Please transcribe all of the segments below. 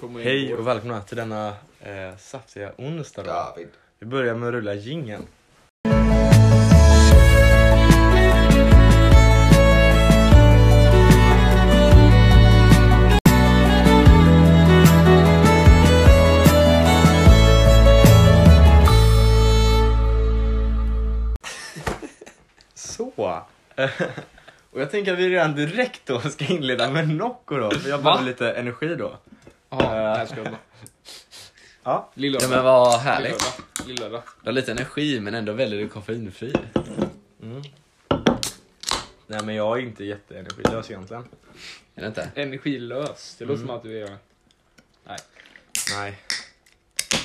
får man ju Hej gå. och välkomna till denna eh, saftiga onsdag. Då. David. Vi börjar med att rulla jingeln. Så. Och jag tänker att vi redan direkt då ska inleda med Nocco då, för jag behöver Va? lite energi då. Ja, jag skojar bara. Ja. Ja, Lillördag. men vad härligt. Lillördag. Lillördag. Du har lite energi men ändå väljer du koffeinfri. Nej men jag är inte jätteenergilös egentligen. Är det inte? Energilös. Det låter som att du är... Nej.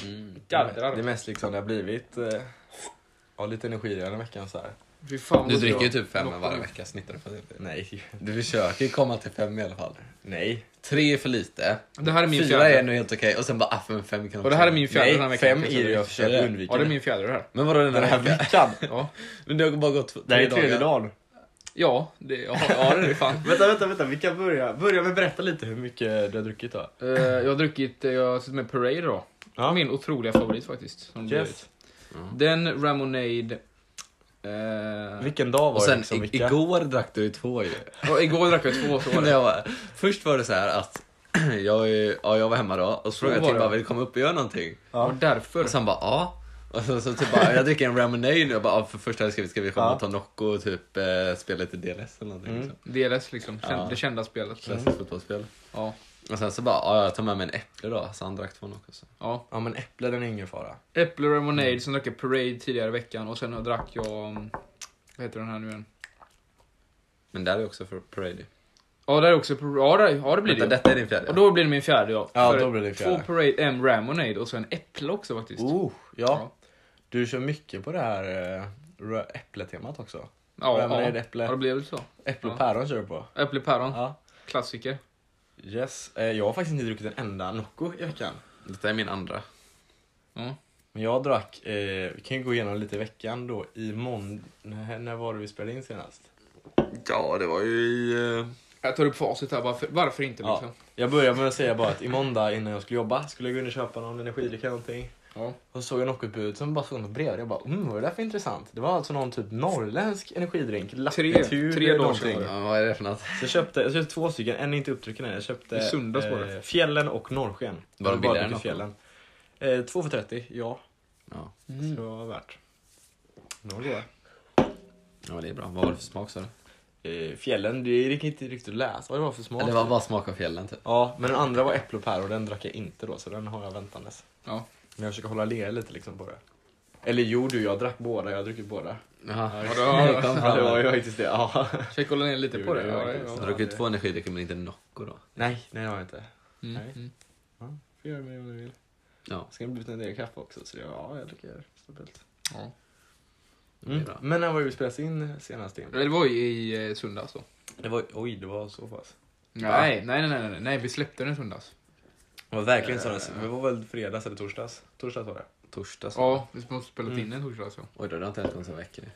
Mm. Jädrar. Det är mest liksom det har blivit. Eh, ja, lite energi den här veckan så här. Fy fan Du vad dricker bra. ju typ fem Nocco. varje vecka snittar du på typ. Nej. Du försöker ju komma till fem i alla fall. Nej. Tre är för lite. Det här är min Fyra är fjärde. nu helt okej och sen bara ah, men fem kan Och det här är min fjärde den här Nej, veckan. fem kan är det jag säga. jag försöker undvika. Ja, det är min fjärde det här. Men vadå den Den här här veckan? veckan? Ja, Men det har bara gått tre Det här är tredje dagen. ja, det, ja, ja det är det fan. Vänta, vänta, vänta. Vi kan börja. Börja med att berätta lite hur mycket du har druckit då. Eh, jag har druckit, eh, jag har suttit med Parade då. Ja. Min otroliga favorit faktiskt. Som det blivit. Yes. Den, Ramonade. Eh, Vilken dag var Och sen det liksom? i- Vilka? igår drack du ju två ju. och igår drack jag två så var När det. jag var, först var det så här att jag, är- ja, jag var hemma då och så frågade var jag Tim det. bara, vill du komma upp och göra någonting? Och därför. Och sen bara ja. Och så, så typ bara, jag dricker en lemonade och jag bara, ja, för första hade jag skrivit ska vi komma Ja. och ta Nocco och typ eh, spela lite DLS eller någonting. Mm. Så. DLS liksom, känd, Ja. det kända spelet. Klassiskt fotbollsspel. Ja, Och sen så bara, ja jag tar med mig en äpple då. Så han drack två Nocco. Så. ja. Ja men äpple den är ingen fara. Äpple och Ramonade, sen drack jag Parade tidigare i veckan och sen drack jag... mm, Vad heter den här nu igen? Men där är också för Parade. Ja, där är också... par- Ja, där, ja det blir Vänta, det. detta är din fjärde? Och då blir det min fjärde ja. Ja, För då blir det fjärde. Två Parade, en Ramonade och så en Äpple också faktiskt. Oh, ja. Ja. Du kör mycket på det här eh, rö- äppletemat också. Ja, Ramonade, ja. äpple. ja, det blev väl så. Äpple och Ja. päron kör du på. Äpple päron, Ja. klassiker. Yes. Eh, Jag har faktiskt inte druckit en enda Nocco i veckan. Detta är min andra. Ja. Men jag drack, eh, vi kan ju gå igenom lite i veckan då, i måndag, när, när var det vi spelade in senast? Ja, det var ju i... eh, Jag tar upp facit här, varför, varför inte liksom? Jag börjar med att säga bara att i måndag innan jag skulle jobba skulle jag gå in och köpa någon energidryck eller någonting. Ja. Och så såg jag Nocco-utbudet som bara stod något bredvid. Jag bara, mm, vad är det där för intressant? Det var alltså någon typ norrländsk energidrink. Latitur tre eller dagar någonting. sedan Ja, vad är det för något? Så jag köpte, jag köpte två stycken, en är inte upptrycken än. Jag köpte eh, I söndags var det. Fjällen och Norrsken. Var de Jag billigare än druckit Nocco? Fjällen. Eh, två för 30, ja. Ja. Så det var värt. Noll Mm. var. ja, men det är bra. Vad var det för smak sa du? Eh, fjällen, det gick inte riktigt att läsa vad det var för smak. Eller det var bara smak av fjällen typ. Ja, men den andra var äpple och päron och den drack jag inte då, så den har jag väntandes. Ja. Men jag försöker hålla ner lite liksom på det. Eller jo du, jag drack båda, jag har druckit båda. Jaha. Ja, då- Kom Ja, fram. det var ju faktiskt det. Ja. Försök kolla ner lite Jo, på det. det var Ja, inte Så ja, sant. jag drack ju två energidrycker men inte Nocco då. Nej, nej det har jag inte. Mm, Nej. mm. Får göra med det om du vill. Ja, Sen har det blivit en del kaffe också, så jag, ja, jag dricker stabilt. Ja. det är Mm. bra. Men när var det vi spelades in senast? Tim? Det var ju i eh, söndags då. Det var, oj, det var så pass. Nej, nej, nej, nej, nej, nej, vi släppte den i söndags. Det var verkligen sådant. Det var väl fredags eller torsdags? Torsdags var det. Torsdag så. Ja, vi måste spela in Mm. den i torsdags ja. Oj då, det har inte hänt på en sån vecka. nu.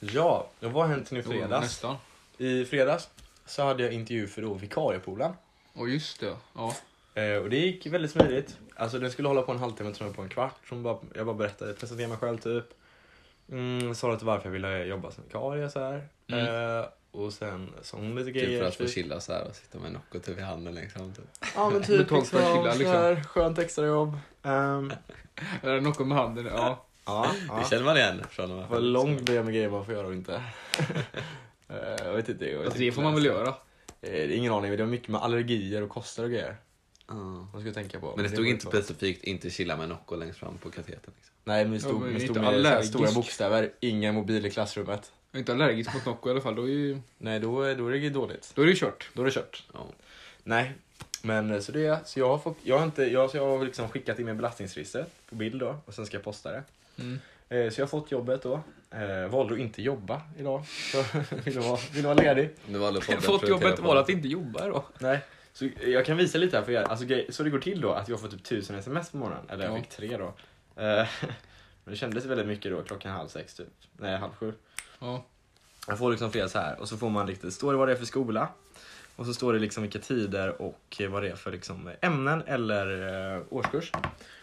Ja, och vad har hänt nu Jo, fredags? Nästan. I fredags så hade jag intervju för då vikariepoolen. Och just det, ja. Eh, och det gick väldigt smidigt. Alltså den skulle hålla på en halvtimme, tror jag, på en kvart. Så hon bara, jag bara berättade, presenterade mig själv typ. Mm, sa lite varför jag ville jobba som vikarie så här. Eh, och sen sa hon lite Typ grejer. Mm. för att få typ. chilla så här och sitta med Nocco typ i handen liksom. Typ. Ja men typ Betalt för att liksom, chilla, så här, skönt extrajobb. Ehm, Är det något med handen? Ja. ja, Det ja. känner man igen från de här Vad långt det är med grejer man får göra och inte. Eh, jag vet inte. Jag vet Fast det inte. får man väl göra. Eh, det är ingen aning, men det var mycket med allergier och koster och grejer. Ja. Man skulle tänka på. Men det var stod ju inte så. specifikt inte chilla med Nocco längst fram på kateten. Liksom. Nej men det Ja, stod, men det inte stod med så här allergisk. stora bokstäver, ingen mobil i klassrummet. Jag är inte allergisk mot Nocco i alla fall, då är, ju, Nej, då, är- då är det ju dåligt. då är det ju kört. Då är det kört. Ja. Nej, men eh, så det är, så jag har fått, jag har inte, jag, så jag har liksom skickat in min belastningsregister på bild då och sen ska jag posta det. Mm. Eh, så jag har fått jobbet då. Eh, valde att inte jobba idag. Så vill vara, vill vara ledig. Du valde podden, Fått prioritera jobbet podden. var att inte jobba då. Nej. Så eh, jag kan visa lite här för er. Alltså, grej- så det går till då att jag får typ 1000 sms på morgonen. Eller jag Ja. fick tre då. Eh, men det kändes väldigt mycket då klockan halv sex typ. Nej, halv sju. Ja. Jag får liksom flera så här och så får man lite, står det vad det är för skola? Och så står det liksom vilka tider och vad det är för liksom ämnen eller eh, årskurs.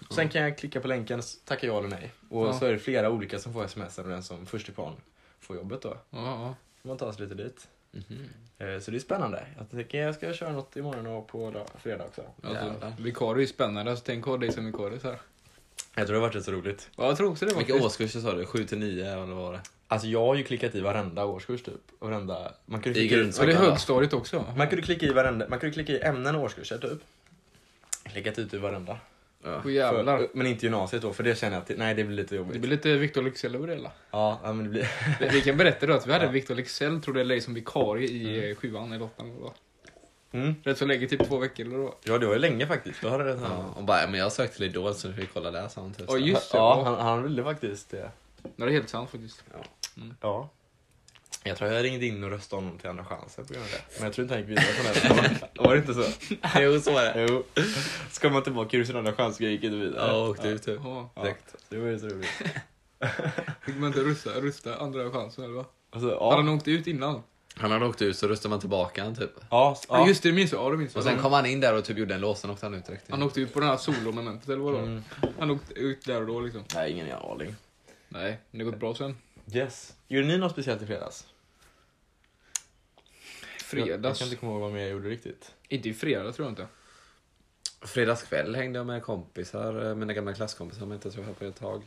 Och sen kan jag klicka på länken, s- tacka ja eller nej. Och Ja. så är det flera olika som får sms och den som först i kvarn får jobbet då. Ja, Får man ta sig lite dit. Mhm. Eh, Så det är spännande. Jag tänker jag ska köra något imorgon och på dag- fredag också. ja. Alltså, Jävlar. vikarie är ju spännande, alltså, tänk att ha dig som vikarie så här. Jag tror det har varit rätt så roligt. Ja, jag tror också det var Vilka årskurser sa du? 7 till 9 eller vad var det? Alltså jag har ju klickat i varenda årskurs typ. Och varenda... Man kunde I klicka i, grunds- Ja, det är högstadiet också. man kunde klicka i varenda... Man kunde klicka i ämnen och årskurser typ. Klickat ut i varenda. Ja. Åh jävlar. För, men inte gymnasiet då, för det känner jag att det, nej, det blir lite jobbigt. Det blir lite Victor Leksell över det hela. Ja, ja, men det blir... Vi- Vi kan berätta då att vi hade Ja. Victor Leksell, tror det, som vikarie i eh, sjuan eller åttan. eller vad. Mm. Rätt så länge, typ två veckor eller då. Ja, det var ju länge faktiskt. Då hade det Ja, och bara, men jag sökte till Idol så du fick kolla där sa han typ. Ja, just det. Ja, han, han ville faktiskt det. Nej, det är helt sant faktiskt. Ja. Jag tror jag ringde in och röstade honom till Andra chansen på grund av det. Men jag tror inte han gick vidare från det. Var det inte så? Jo, så var det. Jo. Ska man tillbaka ur sin Andra chans så gick inte vidare. Ja, och åkte ut typ. Ja. Ja, Det var ju så roligt. Fick man inte rusta, rusta andra chansen eller vad? Alltså, Hade ja. han åkt ut innan? Han hade åkt ut så röstade man tillbaka han typ. Ja, s- Ja, ja. just det, det minns jag. Ja, det minns jag. Och sen kom han in där och typ gjorde en lås, sen åkte han ut direkt. Han åkte ut på det här solomomentet eller vad det var. Mm. Han åkte ut där och då liksom. Nej, ingen aning. Nej, men det har gått bra sen. Yes. Gjorde ni något speciellt i fredags? Jag, jag Fredags. kan inte komma ihåg vad mer jag gjorde riktigt. Inte i fredag tror jag inte. Fredagskväll hängde jag med kompisar, eh, mina gamla klasskompisar som jag inte träffat på ett tag.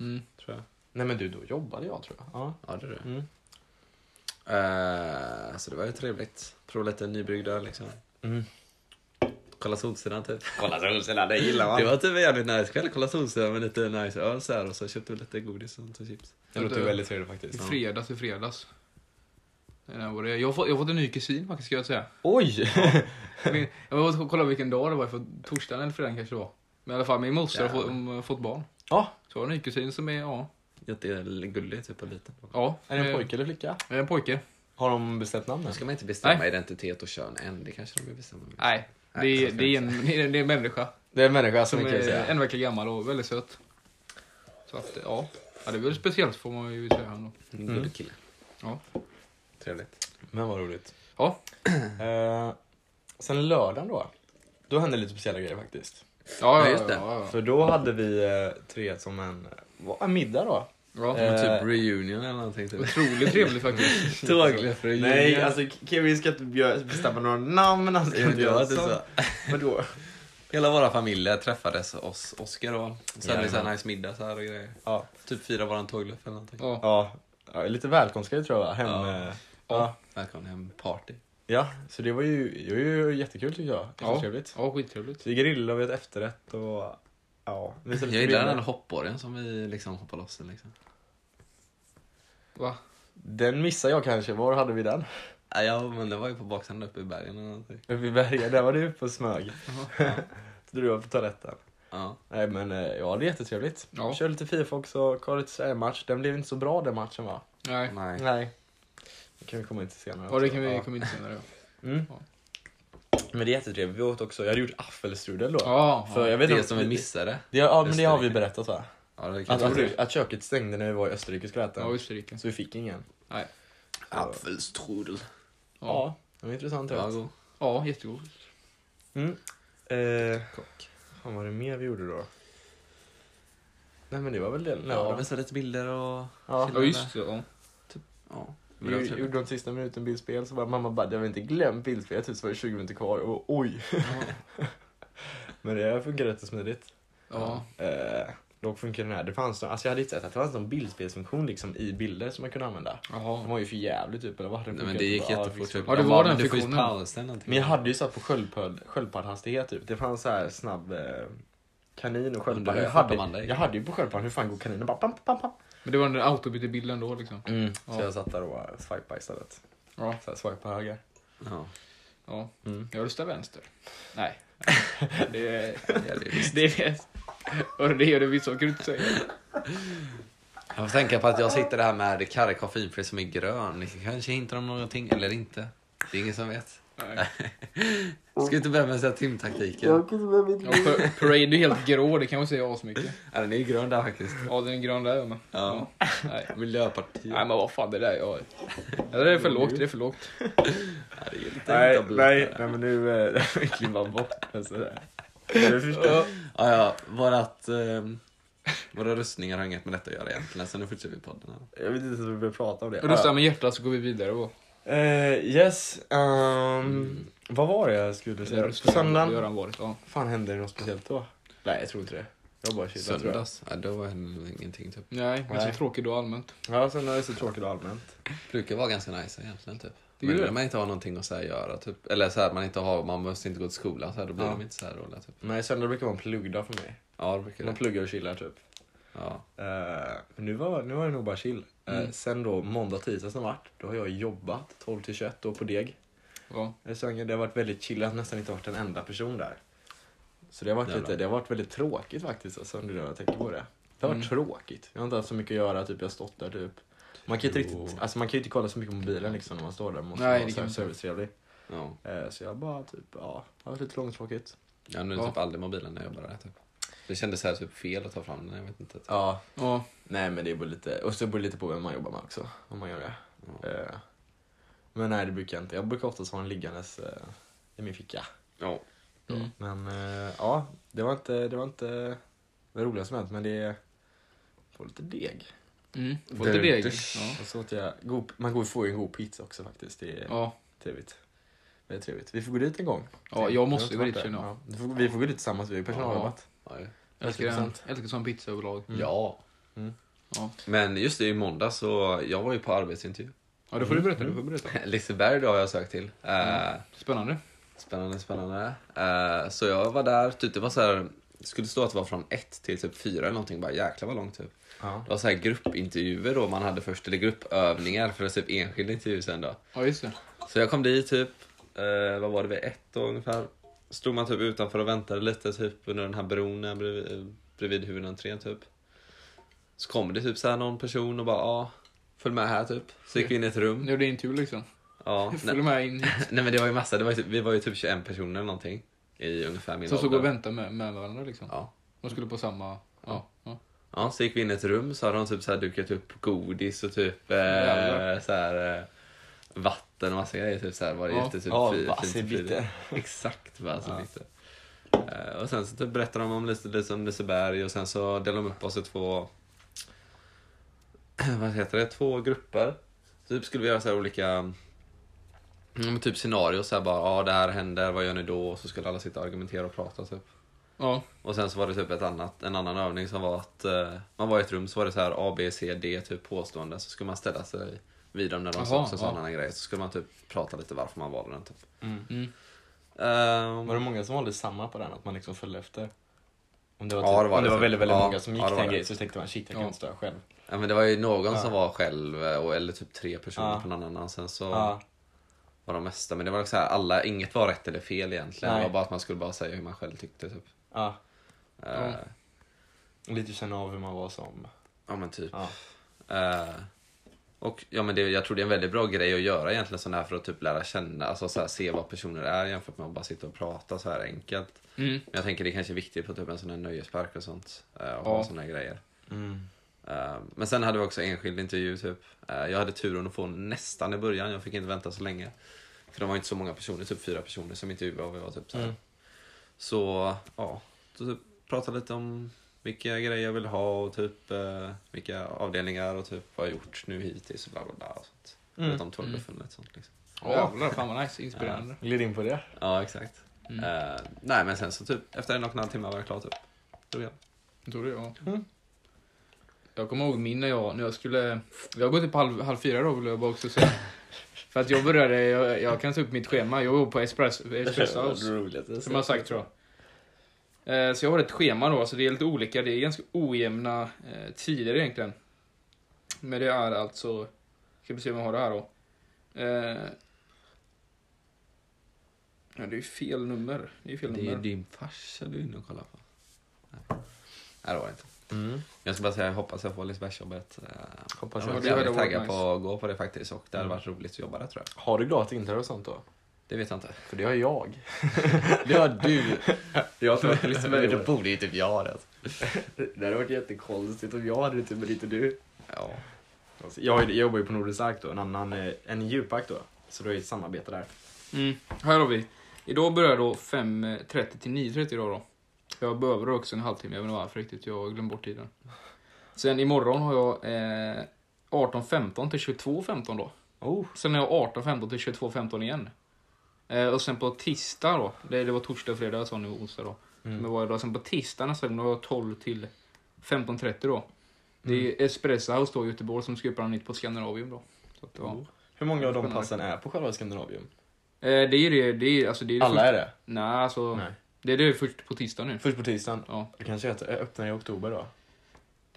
Mm. Tror jag. Nej men du, då jobbade jag tror jag. Ja. Ja, det är det. Mm. Eh, så det var ju trevligt. Prova lite nybryggd öl liksom. Mm. Kolla Solsidan typ. Kolla solsidan, det gillar Det var typ en jävligt nice kväll. Kolla Solsidan med lite nice öl så här, och så köpte vi lite godis och sånt och chips. Det låter ju väldigt trevligt faktiskt. I fredags, i fredags. Den här var det. Jag har fått- jag har fått en ny kusin faktiskt, ska jag säga. Oj! Min- Jag måste kolla vilken dag det var, för torsdagen eller fredagen kanske det var. Men i alla fall, min moster har fått, hon har fått barn. Ja, Så jag har en ny kusin som är, ja. Jättegullig typ och liten. ja är det en eh, pojke eller flicka? är En pojke. Har de bestämt Nu namnet? ska man inte bestämma identitet och kön än. Det kanske de vill bestämma. Nej, det, Nej, så är, ska det, jag är en, det är en- det är en människa. Det är en människa Som som kan är säga. en vecka gammal och väldigt söt. Så att, ja. ja det är väl speciellt får man ju säga. Ändå. En gullig kille. Ja. Trevligt. Men vad roligt. Ja. Eh, sen lördagen då. Då hände lite speciella grejer faktiskt. Ja, ja, Ja, just ja, det. ja, ja. För då hade vi eh, tre som en, vad, en middag då. ja. Eh, Men typ reunion eller någonting. Typ. Otroligt trevligt faktiskt. Tåglift reunion. Typ. Nej, alltså Kevin ska inte bjö- bestämma några namn. alltså, Han ska Jo, inte det var göra inte så. så. Vadå? Hela våra familjer träffades, oss, Oskar och sen hade vi så här Jajamän. nice middag så här och grejer. Ja, Typ fira våran tågluff eller någonting. Ja. ja, ja lite välkomstgrej tror jag. Hem, Ja. eh, Ja. ja. Välkommen hem party. ja, så det var ju, det var ju jättekul tycker jag. Det var Ja. trevligt. Ja, skittrevligt. Så vi grillade och vi åt efterrätt och ja. Jag gillar den hoppborgen som vi liksom hoppar loss i. Liksom. Va? Den missade jag kanske. Var hade vi den? Ja, Ja, men det var ju på baksidan uppe i bergen eller någonting. Uppe i Berga, där var du på smög. Så du var på toaletten. Ja. Nej men eh, ja, det är jättetrevligt. Ja. Kör lite Fifa också, kolla lite Sverige-match. Den blev inte så bra den matchen va? Nej. Nej. Nej. Det kan vi komma in till senare. Ja, det också. kan vi Ja. komma in senare. ja. Mm. Ja. Men det är jättetrevligt. Vi åt också, jag hade gjort affelstrudel då. Ja, För ja. jag vet det inte- som vi missade. Det, ja men det Österrike. har vi berättat va? Ja, det Att, kan Alltså, att, att köket stängde när vi var i Österrike och skulle äta. Ja, Österrike. Så vi fick ingen. Nej. Apfelstrudel. Ja, Ja, det var intressant. Det var Ja. god. ja jättegod. Mm. Eh, Kock. Fan vad var det mer vi gjorde då? Nej men det var väl det. Ja, lördagen. visade lite bilder och... Ja. Ja, just det. Ja. Ja. Vi typ- gjorde- gjorde de sista minuten bildspel så bara mamma bara jag har inte glömt bildspel typ så var det 20 minuter kvar och oj. Men det funkar rätt så smidigt. Ja. Eh, dock funkar den här. Det fanns någon, alltså jag hade inte sett att det fanns någon bildspelsfunktion liksom i bilder som man kunde använda. De Jaha. var ju för jävligt typ eller vad hade den Nej, men funkat? det gick Ja, jättefort. funkar. liksom. typ. Ja, det De var bara, den "Men Du får ju fiktionen." pausa eller någonting. Men jag hade ju satt på sköldpöld- sköldpaddhastighet typ. Det fanns så här snabb eh, kanin och Undrar sköldpadda. hur Jag fort de hade, andra gick. jag hade ju på sköldpaddan, hur fan går kaninen? Bara, pam, pam, pam. Men det var den där autobytebilden då liksom. Mm. Ja. Så jag satt där och bara swipade istället. Ja. Så här, swipa höger. Ja. ja. Mm. Jag röstar vänster. Nej. Det är... alltså, Ja, det är visst. Det är det. Och det gör det vissa saker inte säga. Jag får tänka på att jag sitter här med karre koffeinfri som är grön. Ni kanske hintar om någonting eller inte. Det är ingen som vet. Nej. Ska vi inte börja med så här timtaktiken? Jag kan inte med mitt Ja, pa- parade är helt grå, det kan man säga asmycket. Ja, den är ju grön där faktiskt. Ja, den är grön där med. Ja. Nej. Miljöpartiet. Nej men vad fan det där är jag... Ja, Det är för lågt, det är för lågt. Ja, det är lite Nej, dubbelt nej, där. nej men nu eh, klippa bort den sådär. Du förstår. Ja, ja, vårat, ehm, våra röstningar har inget med detta att göra egentligen, så nu fortsätter vi podden. Här. Jag vet inte ens om vi behöver prata om det. Rösta med hjärtat så går vi vidare då. Eh, yes, ehm, vad var det Mm. jag skulle säga? På söndagen? Göran varit, ja. Fan hände det något speciellt då? Nej jag tror inte det. Jag bara chillade tror jag. Söndags? Ja, då hände nog ingenting typ. Nej, ganska Nej. tråkig då allmänt. Ja söndag är så tråkigt och allmänt. Brukar vara ganska nice egentligen typ. Tycker Men du? när man inte har någonting att så här göra typ. Eller så här, man inte har, man måste inte gå till skolan så här, då blir Ja. de inte så här roliga typ. Nej söndag brukar vara en pluggdag för mig. Ja, det brukar Man det. pluggar och chillar typ. Ja. Eh, men nu var, nu var det nog bara chill. Eh, Mm. Sen då måndag, tisdag som vart, då har jag jobbat 12 till 21 då på deg. Ja. Jag är så- Det har varit väldigt chill, jag har nästan inte varit en enda person där. Så det har varit, Jävlar. lite, det har varit väldigt tråkigt faktiskt alltså, nu när jag tänker på det. Det har varit Mm. tråkigt. Jag har inte haft så mycket att göra, typ jag har stått där typ. Man kan, ju inte Jo. riktigt, alltså man kan ju inte kolla så mycket på mobilen liksom när man står där. Man måste Nej, vara det så kan här man servicetrevlig. Ja. Eh, Så jag bara typ, ja, det har varit lite långtråkigt. Jag använde Ja. typ aldrig mobilen när jag jobbade där typ. Det kändes så här typ fel att ta fram den, jag vet inte. Ja, Ja. Nej men det beror lite, och så beror det lite på vem man jobbar med också. Om man gör det. Eh, Men nej det brukar jag inte. Jag brukar oftast ha den liggandes eh, i min ficka. Ja. Mm. Men eh, ja, det var inte det, var inte det roligaste som hänt men det får lite deg. Mm. Får Det- lite deg. det- Ja. Och så åt jag, god, man går- får ju en god pizza också faktiskt. Det är Ja. trevligt. Det är trevligt. Vi får gå dit en gång. ja, jag måste Jag gå har dit inte varit känner där. jag. Ja, du får- Vi får gå dit tillsammans, vi har ju personalrabatt. Ja, ju. Jag Älskar den. 100%. Älskar sån pizza överlag. Mm. ja. Ja. Men just det, i måndag så, jag var ju på arbetsintervju. ja, det får du berätta. Du får berätta. Liseberg då har jag sökt till. Eh, Mm. Spännande. Spännande, spännande. Eh, så jag var där, typ, det var så här, det skulle stå att det var från ett till typ fyra eller någonting, bara jäklar vad långt typ. Ja. Det var så här gruppintervjuer då man hade först, eller gruppövningar för typ enskild intervju sen då. Ja, just det. Så jag kom dit typ, eh, vad var det, vid ett då ungefär. Stod man typ utanför och väntade lite typ under den här bron här bredvid, eh, bredvid huvudentrén typ. Så kom det typ så här någon person och bara ja, följ med här typ. Så gick vi in i ett rum. Nu är det din tur liksom. Ja, nej. Följ med in Nej men det var ju massa, det var ju typ, vi var ju typ 21 personer eller någonting. I ungefär min Så stod ålder. och väntade med, med varandra liksom. Ja. De skulle på samma... Ja. ja. ja, så gick vi in i ett rum så hade de typ så här dukat upp godis och typ eh, Jävlar. så här, eh, vatten och massa grejer. Typ så här var det Ja. jättetyp Ja, fi- vass i fint och bitter. fint. Exakt vad alltså lite. Eh, och sen så typ berättade de om lite, lite om Liseberg och sen så delade de upp oss i två vad heter det, två grupper. Typ skulle vi göra så här olika mm, men typ scenarier så här bara, ja det här händer, vad gör ni då? Och så skulle alla sitta och argumentera och prata typ. ja. Och sen så var det typ ett annat, en annan övning som var att eh, man var i ett rum så var det så här A, B, C, D typ påstående så skulle man ställa sig vid dem när de Jaha, sa ja. ja. sådana grejer så skulle man typ prata lite varför man valde den typ. Mm. Ehm, Var det många som valde samma på den? Att man liksom följde efter? Om det var, Ja, typ, det var om det det var väldigt, väldigt säkert. Ja, många som gick ja, det till var en det. grej så tänkte man shit, jag kan Ja. inte störa själv. ja, men det var ju någon som Ja. var själv eh, och, eller typ tre personer Ja. på någon annan sen så Ja. var de mesta men det var så här, alla, inget var rätt eller fel egentligen. Nej. Det var bara att man skulle bara säga hur man själv tyckte typ. Ja. Eh, Ja. Lite känna av hur man var som... Ja men typ. Ja. Eh, och ja, men det, jag tror det är en väldigt bra grej att göra egentligen sån här för att typ lära känna, alltså så här, se vad personer är jämfört med att bara sitta och prata så här enkelt. Mm. Men jag tänker det kanske är viktigt på typ en sån här nöjespark och sånt. eh, och Ja. ha såna här grejer. Mm, Eh, men sen hade vi också enskild intervju typ. Eh, jag hade turen att få nästan i början, jag fick inte vänta så länge. För det var inte så många personer, typ fyra personer som intervjuade och vi var typ så här. Mm. Så ja, så typ pratade lite om vilka grejer jag vill ha och typ eh, vilka avdelningar och typ vad jag gjort nu hittills och bla bla bla. Och sånt. Mm. Lite om tårtbuffeln och lite sånt liksom. Jävlar, fan vad nice. Inspirerande. Gled in på det. Ja, exakt. Eh, nej men sen så typ efter en och en halv timme var jag klar typ. Tror jag. Jag tror det, ja. Mm. Jag kommer ihåg min när jag, när jag skulle... Jag går typ halv, halv fyra då vill jag bara också säga. För att jag började, jag, jag kan ta upp mitt schema. Jag var på Espresso, espresso House. roligt. Som jag har sagt tror jag. Eh, Så jag har ett schema då, så det är lite olika. Det är ganska ojämna eh, tider egentligen. Men det är alltså... Ska vi se om jag har det här då. Eh, Ja, det är ju fel nummer. Det är ju fel Det är ju nummer. din farsa du är inne och kollar på. Nej, nej det var det inte. Mm. Jag ska bara säga jag hoppas jag får Lisebergsjobbet. Eh, Hoppas Jag Ja, jag. var det hade jävligt varit taggad nice. Mm. på att gå på det faktiskt och det hade varit roligt att jobba där tror jag. Har du gratis inträde och sånt då? Det vet jag inte. För det har jag. Det har du. Jag har inte varit Men Liseberg. då borde ju typ jag ha det. Det hade varit jättekonstigt om jag hade det, men inte du. Ja. Alltså, jag, har ju- jag jobbar ju på Nordisk Ark då, en annan, eh, en djupark då. Så då är det ett samarbete där. Mm. Här har vi. Idag börjar då 5.30 till 9.30 idag då. Jag behöver också en halvtimme, jag vet inte varför riktigt, jag har glömt bort tiden. Sen imorgon har jag eh, 18.15 till 22.15 då. Oh. Sen är jag 18.15 till 22.15 igen. Eh, och sen på tisdag då, det, det var torsdag och fredag, jag sa nu onsdag då. Mm. Men var jag då. Sen på tisdag nästa gång, då var jag 12 till 15.30 då. Det Mm. är Espresso House då i Göteborg som ska öppna nytt på Scandinavium då. Så att, ja. Oh. Hur många av de passen är på själva Skandinavium? eh, det är ju det, det är, alltså, det är det Alla första- är det? Nej, alltså. Nej. Det är det först på tisdag nu. Först på tisdagen. Ja. Det kanske är att- öppnar i oktober då. Nej,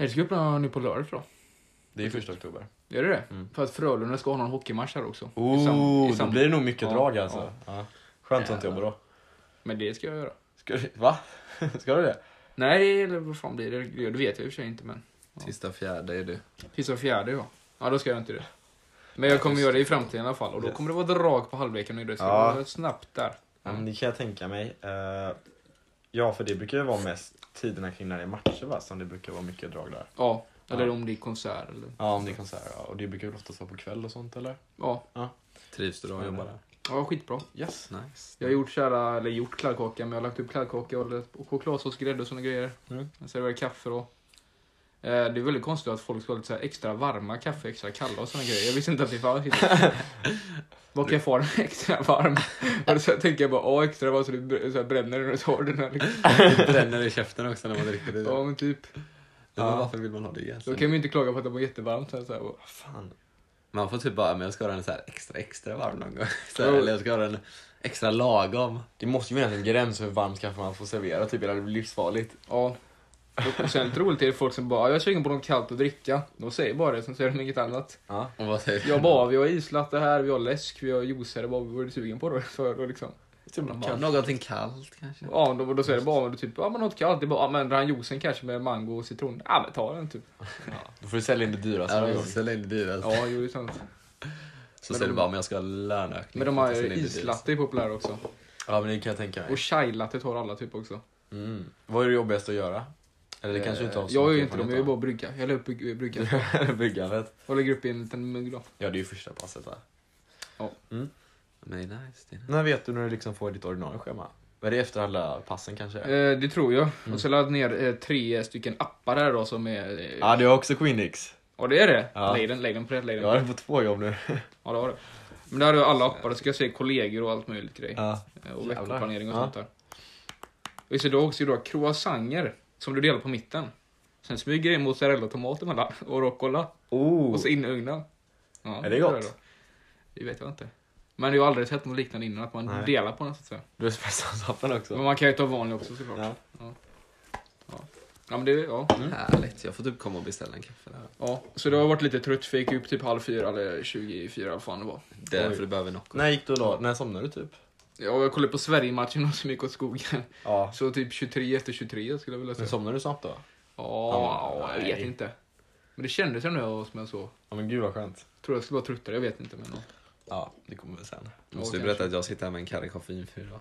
det ska öppna nu på lördag tror Det är ju första oktober. jag. Är det det? Mm. För att Frölunda ska ha någon hockeymatch här också. I Oh, sam- i då sam- blir det nog mycket Ja, drag alltså. Ja. Skönt att jag inte Jävlar. jobbar då. Men det ska jag göra. Ska du, va? Ska du det? Nej, eller vad fan blir det? Ja, Det vet jag i och för sig inte, men. Sista fjärde är det. Tisdag och fjärde ja. Ja, då ska jag inte det. Men jag kommer göra det i framtiden i alla fall. Och då Yes. kommer det vara drag på halvleken och det ska Ja. vara snabbt där. Ja, men det kan jag tänka mig. Eh, ja, för det brukar ju vara mest tiderna kring när det är matcher va? Som det brukar vara mycket drag där. Ja, eller Ja. om det är konsert eller... Ja, om det är konserter. Ja. Och det brukar väl oftast vara på kväll och sånt eller? Ja, Trivs du då att jobba där? ja skitbra. Yes. Nice. Jag har gjort kära, eller gjort kladdkaka, men jag har lagt upp kladdkaka och lagt på chokladsås, grädde och såna grejer. Mm. Jag serverar kaffe då. Eh, Det är väldigt konstigt att folk ska ha lite så här extra varma kaffe, extra kalla och såna grejer. Jag visste inte att det fanns. Vad kan jag få den extra varm? Och så tänker jag bara, ja extra varm så det br- så här bränner när du tar den här. Liksom. Det bränner i käften också när man dricker det. Ja men typ. Men Ja. Varför vill man ha det Då egentligen? kan vi inte klaga på att det var jättevarmt. Så här, så här. Vad fan. Man får typ bara, men jag ska ha den så här extra extra varm någon gång. Så här, Ja. eller jag ska ha den extra lagom. Det måste ju finnas en gräns för hur varmt kaffe man får servera. Typ, eller det blir livsfarligt. Ja. Och sen troligt är det folk som bara, "Ja, jag är sugen på något kallt att dricka. De säger bara det, sen säger de inget annat. Ja. Och vad säger Jag bara, vi har islatte här, vi har läsk, vi har juicer, vad var du sugen på då? Så, då liksom. Typ Man bara, kaffe. Någonting kallt kanske? Ja, då, då säger det bara, men typ, ja men något kallt, det är bara, ja, men den här juicen kanske med mango och citron, ja men ta den typ. Då får du sälja in det dyraste Ja, varje de gång. säljer in det dyrast. Ja, jo det är sant. Så Men säger de- du bara, men jag ska ha löneökning. Men de för att här jag säljer in det dyrast. islatte är populära också. Ja, men det kan jag tänka mig. Och chai-latte tar alla typ också. Mm. Vad är det jobbigaste att göra? Eller det kanske du inte har Eh, så Jag är ju mycket inte dem, jag är ju bara brygga. Jag lägger upp bry- brygga. erfarenhet av. Byggandet. Och lägger upp i en liten mugg då. Ja, det är ju första passet där. Men det är nice. Det är nice. När vet du när du liksom får ditt ordinarie schema? Är det efter alla passen kanske? Ja, Eh, Det tror jag. Mm. Och så laddade jag ner eh, tre stycken appar här då som är... eh, ah, du har också Quinix. Ja det är det. Ja. Lägg den, lägg den på det, lägg den Jag på har det. den på två jobb nu. Ja det har du. Men där har du alla appar, då ska jag se kollegor och allt möjligt grej. Ja. Eh, Och Jävlar. veckoplanering och Ja. sånt där. Och så då också då croissanter som du delar på mitten. Sen smyger du in mozzarella-tomater mellan och rockola. Oh. Och så in i ugnen. Ja, Är det gör jag gott? då. Det vet jag inte. Men jag har aldrig sett något liknande innan, att man Nej. delar på den så att säga. Du har spetsappen Men också. man kan ju ta vanlig också såklart. Ja, Ja. ja men det, ja. Mm. Härligt. Jag får typ komma och beställa en kaffe där. ja. Så det har varit lite trött, för jag gick upp typ halv fyra eller 24, vad fan det var. Därför du behöver Nocco. När gick du då? När somnade du typ? Ja, och jag kollade på Sverige-matchen och som gick åt skogen. Ja. Så typ 23 efter 23 skulle jag vilja Men säga. somnade du snabbt då? Ja, Ja, jag nej. vet inte. Men det kändes ändå som jag så. Ja men gud vad skönt. Tror jag skulle vara tröttare, jag vet inte. Men, ja. Ja, det kommer väl sen. Måste Ja, ju berätta att jag sitter här med en karre koffeinfri idag.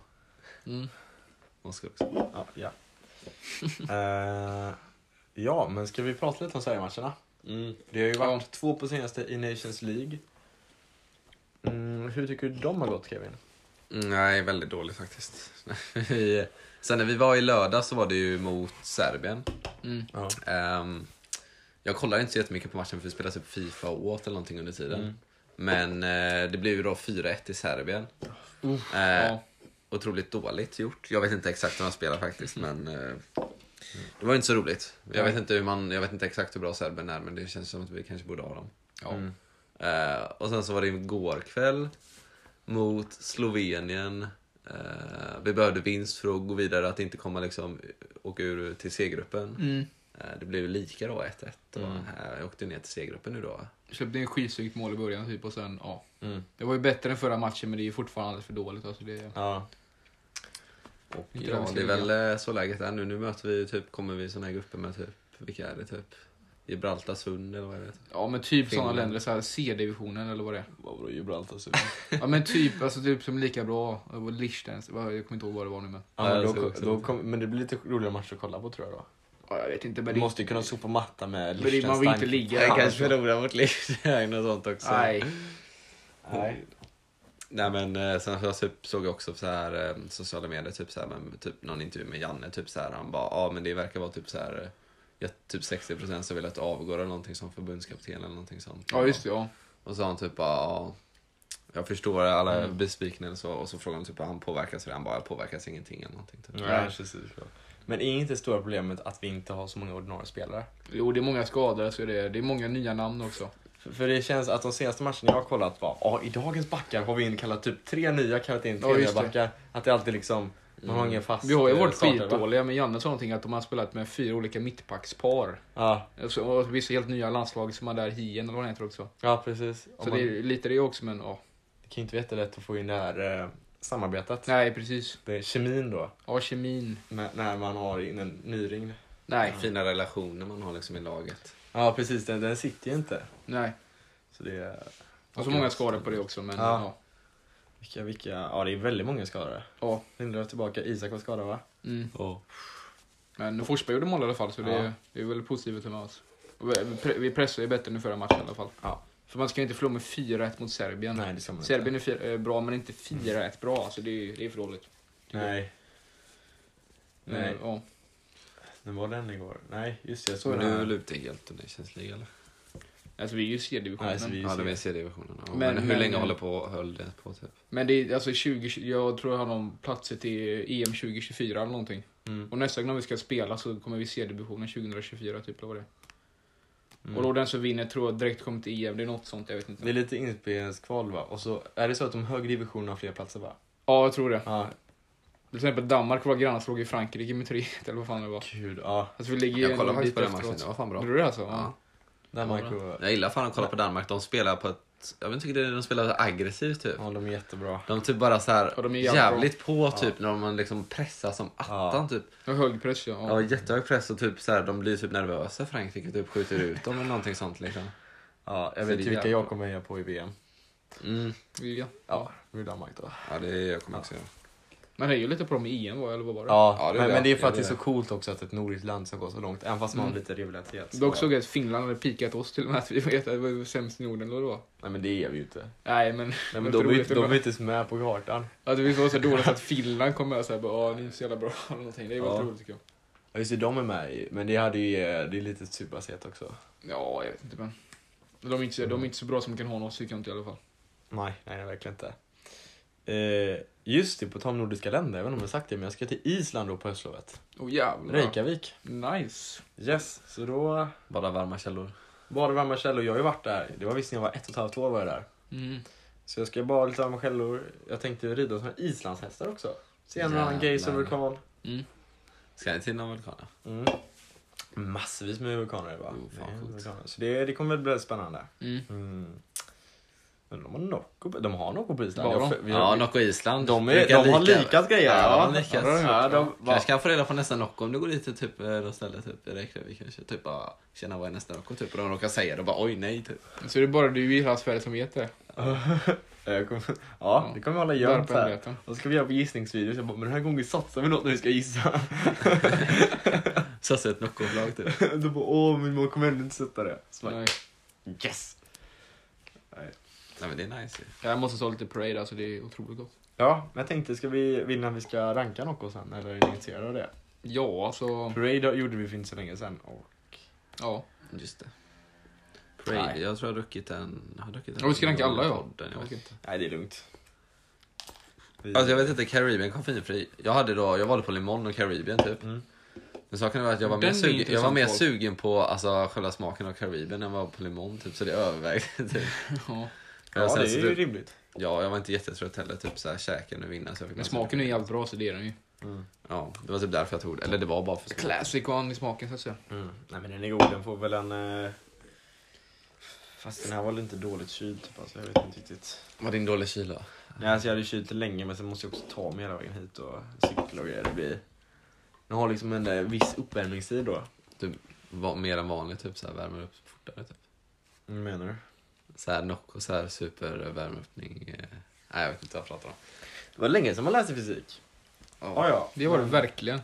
mm. Måste också. Ja, ja. Eh, ja, men ska vi prata lite om Sverige-matcherna? Mm. Det har ju varit två på senaste i Nations League. Mm, hur tycker du de har gått Kevin? Mm, Nej, väldigt dålig faktiskt. Vi- Sen när vi var i lördag så var det ju mot Serbien. Mm. Ja. Ehm, jag kollade inte så jättemycket på matchen för vi spelade typ Fifa och åt eller någonting under tiden. Mm. Men eh, det blev ju då 4-1 till Serbien. Uff, Eh, ja. Otroligt dåligt gjort. Jag vet inte exakt hur man spelar faktiskt Mm. men eh, det var ju inte så roligt. Jag vet inte, hur man, jag vet inte exakt hur bra Serbien är men det känns som att vi kanske borde ha dem. Ja. Mm. Eh, och sen så var det igår kväll mot Slovenien. Eh, vi behövde vinst för att gå vidare, att inte komma liksom åka ur till C-gruppen. Mm. Eh, det blev ju lika då, 1-1. Och, Mm. eh, jag åkte ner till C-gruppen nu då. Köpte en skitsnyggt mål i början typ och sen, ja. Mm. Det var ju bättre än förra matchen men det är ju fortfarande alldeles för dåligt. Alltså det, Ja. Och Inte ja, överskrivet. det är väl eh, så läget är nu. Nu möter vi typ, kommer vi i såna här grupper med typ, vilka är det typ? Gibraltarsund eller vad det heter. Ja men typ sådana Finland. länder, så här C-divisionen eller vad det är. Vadå alltså? Gibraltarsund? Ja men typ, alltså typ som lika bra, det var Liechtenstein, vad- jag kommer inte ihåg vad det var nu men. Ja, men, jag då, såg också då lite. kom, men det blir lite roligare matcher att kolla på tror jag då. Ja, jag vet inte men det... Du måste ju kunna sopa matta med Men det- man vill inte ligga Jag Ja, kanske förlorar mot Liechtenstein och sånt också. Nej. Nej. Nej men eh, sen så jag typ, såg jag också så här eh, sociala medier, typ så här, men, typ någon intervju med Janne, typ så här, han bara, ja ah, men det verkar vara typ så här, eh, ja, typ 60% som vill att avgå eller någonting som förbundskapten eller någonting sånt. Ja just det, ja. Och så sa han typ bara, ja, jag förstår alla mm. besvikna och så, och så frågade han typ, han påverkas av det? Han bara, jag påverkas ingenting eller någonting. Typ. Nej, precis. Men är inte det stora problemet att vi inte har så många ordinarie spelare? Jo det är många skadade så det är, det är många nya namn också. För, för det känns att de senaste matcherna jag har kollat var, ja i dagens backar har vi inkallat typ tre nya, kallat in tre Ja, nya just det. Mm. backar. Att det alltid liksom, man har ingen fast Vi har ju eh, varit startelva. skitdåliga men Janne sa någonting att de har spelat med fyra olika mittbackspar. Ja, Alltså, Och vissa helt nya landslag som har där Hien eller vad han heter också. ja precis. Om Så man, det det, är lite det också men ja. kan ju inte vara jättelätt att få in det här eh, samarbetet. Nej precis. Det är kemin då, Ja kemin. när, när man har in en nyring. Nej. Fina relationer man har liksom i laget. Ja precis, den, den sitter ju inte. Nej. Så det är, Och så många skador på det också men Ja. ja. vilka, vilka, ja det är väldigt många skadade. Ja. Lindlöf tillbaka, Isak var skadad va? Mm. Oh. Men Forsberg gjorde mål i alla fall så det, Ja. det är väl positivt med oss. Och vi- vi pre- Vi pressar ju bättre nu förra matchen i alla fall. Ja. För man ska ju inte förlora med 4-1 mot Serbien. Nej det ska man inte. Serbien är fyra, eh, bra men inte 4-1 bra. Alltså det är, ju- det är för dåligt. Nej. Nej. Eh, Ja. När var den igår? Nej, just det. Jag såg Men nu är den. väl här. ute i helt Nationsliga eller? Alltså vi är ju i C-divisionen. Nej, så vi- Ja, det var i C-divisionen. Ja, Men- men, hur men- länge håller på, höll det på typ? Men det är alltså 20, jag tror jag har någon E platser till EM 2024 eller någonting. Mm. Och nästa gång vi ska spela så kommer vi se divisionen 2024 typ eller vad det är. Mm. Och då den som vinner tror jag direkt kommer till EM, det är något sånt, jag vet inte. Det är lite inspelningskval va? Och så är det så att de högre divisionerna har fler platser va? Ah, Ja, jag tror det. Ja, Till exempel Danmark, våra grannar, slog i Frankrike med 3-1 eller vad fan det var. gud. Ja, Alltså vi ligger ju Jag ändå kollade faktiskt på lite den matchen, efteråt. det var fan bra. Gjorde du det alltså? Ja. Ja. Danmark Ja, och... Jag gillar fan att kolla på Danmark. De spelar på ett... Jag vet inte tycker det är de spelar så aggressivt typ. Ja, de är jättebra. De typ bara så här Ja, de är jävligt jävligt på typ när man liksom pressar som attan typ. Jag har hög press ja. ja. Ja, jättehög press och typ så här, de blir typ nervösa Frankrike typ skjuter ut dem eller någonting sånt liksom. Ja, jag Så vet det ju är vilka jävla- jag kommer heja på i VM. Mm. Vi- ja. Ja, det är Danmark då. Ja, det jag kommer också göra. Men det är ju lite på dem i EM var eller vad var det? Ja, Ja, det är men, det. men det är för Ja, att det är det är så coolt också att ett nordiskt land som går så långt, även fast man har lite rivalitet. så- Dock såg jag att Finland hade pikat oss till och med, att vi vet att vi var sämst i Norden eller vad det var. Nej men det är vi ju inte. Nej men... Nej, men men de, är ju roligt inte- de är ändå. ju inte ens med på kartan. Att det var så dåligt att Finland kom med och såhär bara "Åh, ni är inte så jävla bra eller någonting. Det är väldigt Ja. roligt tycker jag. Ja just det, de är med i, men det hade ju, eh, det är lite superset också. Ja, jag vet inte men. De är inte, så- de är inte så bra som kan ha oss tycker jag inte i alla fall. Nej, nej, nej verkligen inte. Eh, just det, på tal om nordiska länder, jag vet inte om jag sagt det, men jag ska till Island då på höstlovet. Åh jävlar. Reykjavik. Nice. Yes, så då Bara varma källor. bara varma källor. Jag har ju varit där, det var visst när jag var ett och ett halvt år var jag där. Mm, Så jag ska bara lite varma källor. Jag tänkte ju rida såna islandshästar också. Se en annan Jävlar. geyservulkan. Mm. Ska ni till någon vulkan? Mm. Massvis med vulkaner va? Oh, fan, Det är coolt. vulkaner. Så det, det kommer bli spännande. Mm. Mm. Men de har Nocco på- de har Nocco på Island. Har Jag de? för- vi har- Ja, Nocco Island. De, är, Brukar de har lika- likat grejer. Ja, de de har likas. Ja, det har Ja, de de, va? Kanske kan jag få reda på nästa Nocco om du går dit till typ eh, något ställe typ i Reykjavik kanske. Typ bara känna vad är nästa Nocco typ och de råkar säga det och bara oj nej typ. Så det är bara du i hela Sverige som vet det. Jag kommer, ja, det kommer jag hålla Där gömt på här. hemligheten. Och så ska vi göra på gissningsvideos. Jag bara, men den här gången satsar vi något när vi ska gissa. Så ser ett Nocco-lag typ. Då bara, åh, men man kommer ändå inte sätta det. Så bara, Nej. yes! Nej men det är nice ju. Jag måste ta lite parade alltså, det är otroligt gott. Ja, men jag tänkte, ska vi, vill ni att vi ska ranka Nocco sen? Eller initiera det? Ja, alltså. Parade gjorde vi för inte så länge sen. Och... Ja. Just det. Parade. Nej. Jag tror jag har druckit en... Jag har druckit en Ja, vi ska ranka alla, ja. Podden, jag, vet. Okej. inte. Nej, det är lugnt. Vi... Alltså, jag vet inte, Caribbean koffeinfri. Jag, hade då, jag var på Limon och Caribbean typ. Mm. Men saken var att jag var Den mer är sugen, jag var intressant mer folk. sugen på alltså, själva smaken av Caribbean än vad jag var på Limon typ. Så det övervägde typ. Ja. Ja, sen det så är ju typ, rimligt. ja, jag var inte jättetrött heller. Typ såhär käken och vinna. Så jag Men fick nästan- smaken är ju jävligt bra så det är den ju. Ja, det var typ därför jag tog det. Eller det var bara för smaken. Classic one i smaken så att säga. Mm. Nej men den är god, den får väl en... eh, Fast den här var väl inte dåligt kyld typ alltså, jag vet inte riktigt. Var din dålig kyla? Nej alltså jag hade kylt den länge men sen måste jag också ta mig hela vägen hit och cykla och grejer. Det blir... Den har liksom en eh, viss uppvärmningstid då. Du va- mer än vanligt typ så här, värmer upp fortare. Typ. Vad menar du? Så här Nocco, så här supervärmeuppning. Eh, nej, jag vet inte vad jag pratar om. Det var länge sedan man läste fysik. Ja, ja. Det var det verkligen.